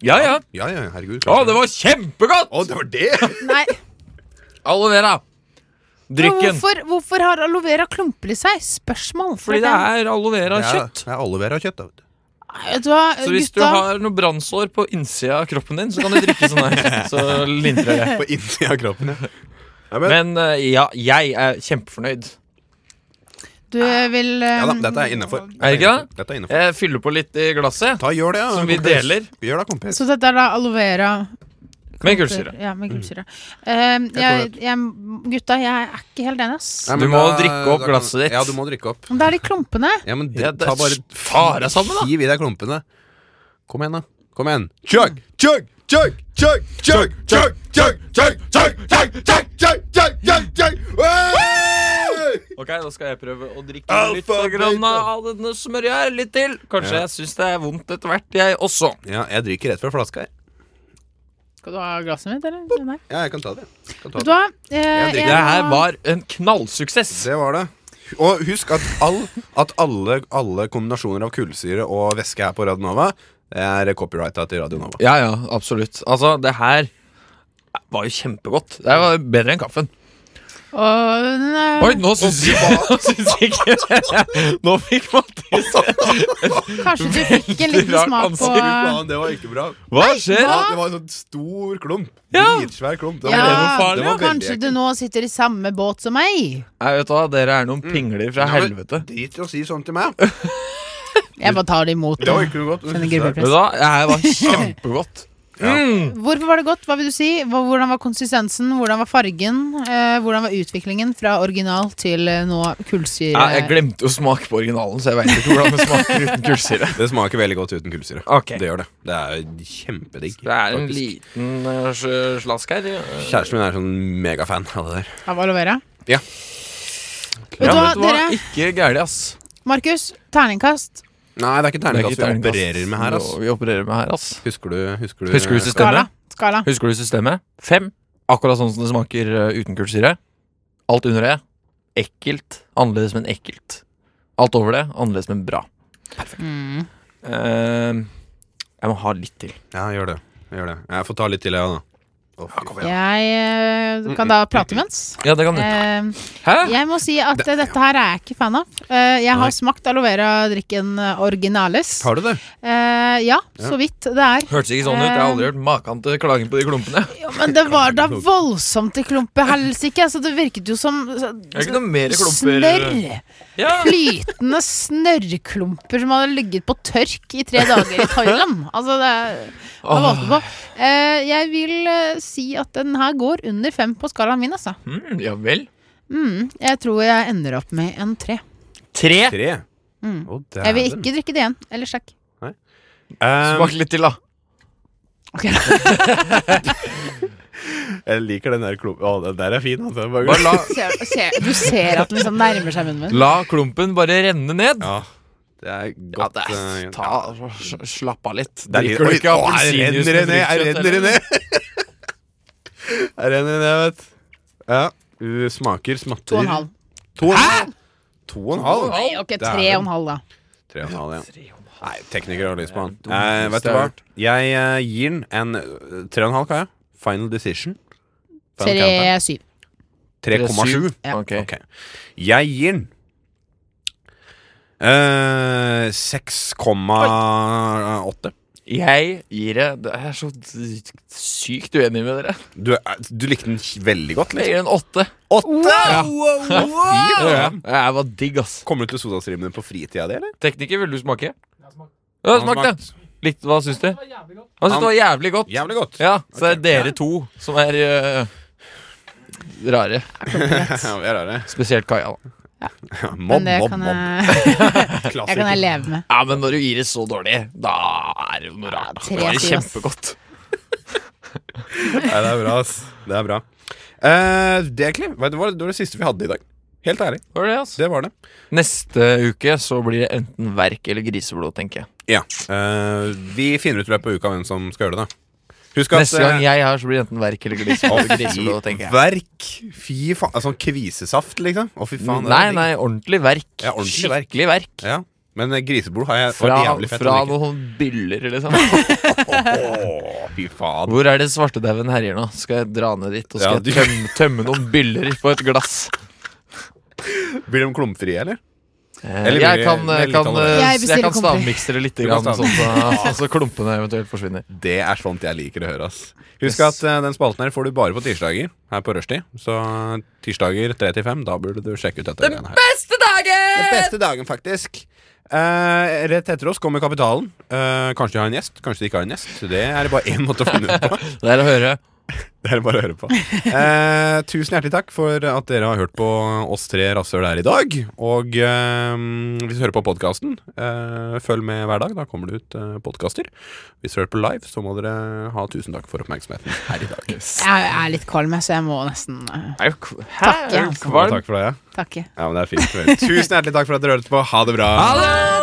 C: Ja, ja.
A: Ja, ja, herregud.
C: Å, det var kjempegodt!
A: Å, det var det!
D: Nei.
C: Aloe vera.
D: Men
C: Drikken.
D: Hvorfor, hvorfor har aloe vera klumper i seg? Spørsmål.
C: Fordi det er aloe vera kjøtt.
A: Det er aloe vera kjøtt, da. vet du.
D: Vet du hva,
C: Så hvis du
D: gutta?
C: har noe brannsår på innsida av kroppen din, så kan du drikke sånn her. Så lindrer det.
A: På innsida av kroppen, ja. Nei, men,
C: Men eh, ja, jeg er kjempefornøyd.
D: Du vil
A: Ah. ja da,
D: ehm,
A: dette er innafor.
C: Er det ikke det?
A: Dette er innenfor.
C: Jeg fyller på litt i glasset
A: Ta, gjør det, ja.
C: Som vi
A: kompis.
C: deler.
A: Gjør det, kompis.
D: Så dette er da aloe vera
C: med gullsyre.
D: Ja, med gullsyre. Ehm, jeg,
A: Mm. tror
D: jeg, gutta, jeg er ikke helt enig, ass.
A: Nei,
C: Du
A: men eh,
C: må drikke opp glasset ditt.
A: Ja, du må drikke opp.
D: Men Det er de klumpene.
A: Ja, men
C: Ja, det
A: ta bare
C: er fara sammen, da.
A: Hiv i deg klumpene. Kom igjen, da. Kom igjen. Chug, chug, chug, chug, chug, chug, chug, chug, chug, chug, chug, chug, chug, chug, chug. Hey!
C: Ok, Da skal jeg prøve å drikke
A: Alfa
C: litt av grann
A: beta.
C: av denne smørja her. Litt til. Kanskje
A: Ja.
C: jeg syns det er vondt etter hvert, jeg også.
A: Ja, jeg drikker rett fra flaska her.
D: Skal du ha glasset mitt, eller? Nei.
A: Ja, jeg kan ta det. Jeg Kan ta
D: Vet du
A: det.
D: hva? Eh,
A: Jeg digger
C: Det her
D: jeg-
C: var en knallsuksess.
A: det var det. Og husk at, all, at alle, alle kombinasjoner av kullsyre og væske her på Radio Nova er copyrighta til Radio Nova.
C: Ja, ja, absolutt. Altså, det her var jo kjempegodt. Det var bedre enn kaffen.
D: Og den er-
C: Oi, nå syns jeg syns jeg ikke Nå fikk Mattis
D: Kanskje du fikk en liten
C: Rart
D: smak på
C: ansikt.
A: det var ikke bra.
C: Hva skjer?
A: Ja, det var en sånn stor klump.
C: Ja.
A: Dritsvær klump. Det var,
C: noe
D: ja,
C: farlig?
A: Det var veldig
D: Kanskje du nå sitter i samme båt som meg?
C: Nei, vet du hva, dere er noen pingler fra
A: Mm. Ja, men
C: helvete.
A: Drit i å si sånt til meg.
D: Jeg bare tar det imot.
A: Det var ikke noe godt.
D: Kjenner gruppepress.
C: Vet du hva, det her var kjempegodt.
D: Hvorfor var det godt? Hva vil du si? Hva, hvordan var konsistensen? Hvordan var fargen? Eh, hvordan var utviklingen fra original til eh, nå kullsyre?
C: Jeg, jeg glemte å smake på originalen, så jeg veit ikke hvordan det smaker uten kullsyre.
A: Det smaker veldig godt uten kullsyre.
C: Ok.
A: Det gjør det. Det er kjempedigg.
C: Det er en
A: faktisk.
C: liten eh, sl- slask her. eh.
A: Kjæresten min er sånn megafan av det der.
D: Av aloe vera?
A: Ja.
D: Vet du hva,
C: hva?
D: dere?
C: Ikke gærent, ass.
D: Markus, terningkast.
A: Nei, det er ikke
C: Det er ikke
A: terningkast vi
C: terningkast
A: opererer med her. ass
C: Vi opererer med her, ass.
A: Husker du Husker du,
C: Husker du
D: Skala.
C: systemet?
D: Skala.
C: Husker du systemet? Fem. Akkurat sånn som det smaker eh, uten kullsyre. Alt under det ekkelt. Annerledes, men ekkelt. Alt over det annerledes, men bra.
D: Mm.
C: Eh, jeg må ha litt til.
A: Ja, gjør det. gjør det Jeg får ta litt til, jeg, da. Å, fy faen.
D: Jeg eh, kan
A: Mm,
D: da prate imens.
C: Ja, det kan du.
D: Eh,
C: Hæ?
D: jeg må si at eh, dette her er jeg ikke fan av. Eh, jeg
A: Nei.
D: har smakt aloe vera-drikken eh, Originalis.
A: Har du det?
D: Eh, ja, så vidt det er.
C: Hørtes ikke sånn ut. Jeg har
D: Eh,
C: aldri hørt maken til klagen på de klumpene.
D: Ja, men det var da voldsomt i klumpehelsike. Altså, det virket jo som så-
C: Det er ikke noe mer klumper. eh?
D: Snørr!
C: Ja.
D: Flytende snørrklumper som hadde ligget på tørk i tre dager i Thailand. Altså, det er hva valgte du på. Eh, jeg vil eh, si at den her går under fem på skalaen min, altså.
C: Mm, ja vel.
D: Mm, jeg tror jeg ender opp med en tre.
C: Tre.
A: Tre?
D: Mm.
A: Å,
D: Jeg vil
A: dæven.
D: ikke drikke det igjen. Eller sjakk.
A: Um,
C: Smak litt til, da.
D: Ok.
A: jeg liker den der klumpen. Å, den der er fin, altså. Bare-
C: Bare la,
D: Ser, ser, du ser at den liksom nærmer seg munnen min.
C: la klumpen bare renne ned.
A: Ja, det er
C: Ja,
A: godt.
C: det
A: eh,
C: er, ta,
A: ja.
C: sl- slapp av litt.
A: Det er litt-
C: Drikker du ikke
A: Oi, å, her renner
C: appelsinjuice
A: det
C: med
A: ned, her
C: fruktkjøtt,
A: renner det
C: eller?
A: ned. Her renner det ned, vet du. Ja. Uh, smaker, smatter
D: To og en halv.
A: To og en halv? To og en halv?
D: Nei, ok,
A: Det er
D: tre
A: den.
D: og en halv, da.
A: Tre og en halv, ja. Nei, teknikere har lyst på han.
C: Det er
A: Eh,
C: dumt,
A: vet du
C: det
A: hva?
C: er
A: Jeg eh, gir den en eh, tre og en halv, kan jeg? Final decision. Final countdown.
D: Tre syv.
A: 3,7.
D: Ja.
C: Ok.
A: Ok. Jeg gir den eh, 6,8.
C: Jeg gir det Det er så sykt uenig med dere.
A: Du, er- du likte den veldig godt,
C: Jeg
A: liksom.
C: gir en åtte.
A: Åtte!
C: Fy
A: faen.
C: Jeg var digg, ass.
A: Kommer du til sodastreamene på fritida di, eller?
C: Tekniker, vil du smake? Ja, smak det. Litt, hva syns du? Han syntes det var jævlig godt.
A: Jævlig godt.
C: Ja, så det er dere to som er øh, rare.
A: Ja, vi er rare.
C: Spesielt Kaja. da.
A: Ja, Mobb,
D: Men det
A: mobb,
D: kan
A: mobb.
D: jeg, jeg kan jeg
A: Klassiker.
D: leve med.
C: Ja, Men når du gir det så dårlig, da er det jo noe rart.
D: tre
C: Det er
D: sier ass.
C: kjempegodt.
A: Nei, det er bra, ass. Det er bra. Eh, det, er egentlig, vet du hva, det var det siste vi hadde i dag. Helt ærlig.
C: Var det det, ass?
A: Det var det.
C: Neste uke så blir det enten verk eller griseblod, tenker jeg.
A: Ja. Eh, vi finner ut i løpet av uka hvem som skal gjøre det. da. Husk at eh,
C: Neste gang jeg er her, så blir det enten verk eller
A: Å,
C: griseblod. griseblod
A: fy
C: tenker jeg.
A: verk. Fy faen. Altså, kvisesaft, liksom. Å, fy faen. det er
C: Nei,
A: digg.
C: nei, ordentlig verk.
A: Ja, ordentlig verk.
C: Skikkelig verk.
A: Ja. Men eh, griseblod har jeg vært
C: Fra,
A: jævlig fett.
C: fra
A: å drikke.
C: noen byller, liksom.
A: Å, fy faen.
C: Hvor er det svartedauden herjer nå? Skal jeg dra ned dit og skal
A: Ja, du-
C: jeg tømme, tømme noen byller på et glass?
A: Blir de klumpfrie, eller?
C: Eh,
A: Eller blir
C: jeg
A: det
C: kan,
A: med
C: jeg
A: litt
C: kan,
A: av det?
C: eh,
D: Jeg
C: jeg
D: bestiller
C: kan
D: kompri.
C: stavmikse det litt,
A: Du kan
C: grann, sånn at så klumpene eventuelt forsvinner.
A: Det er sånt jeg liker å høre. ass Husk
C: Yes.
A: at eh, den spalten her får du bare på tirsdager her på rushtid. Så eh, tirsdager 3 til 5, da burde du sjekke ut dette. Den beste dagen! Den beste dagen, faktisk. Eh, rett etter oss kommer Kapitalen. Eh, kanskje de har en gjest, kanskje de ikke har en gjest. Det er det bare én måte å finne ut på.
C: Det er å høre.
A: Det er det bare å høre på. Eh, tusen hjertelig takk for at dere har hørt på oss tre rasshøl her i dag. Og eh, hvis du hører på podkasten, eh, følg med hver dag. Da kommer det ut eh, podkaster. Hvis du hører på live, så må dere ha tusen takk for oppmerksomheten her i dag.
D: Jeg er litt kvalm, jeg, så jeg må nesten eh,
C: Er du k- Hæ?
D: Takk, ja.
C: Er du kvalm?
A: Takk for det.
D: takke.
A: Ja, men det er fint. Tusen hjertelig takk for at dere hørte på. Ha det bra.
C: Ha det!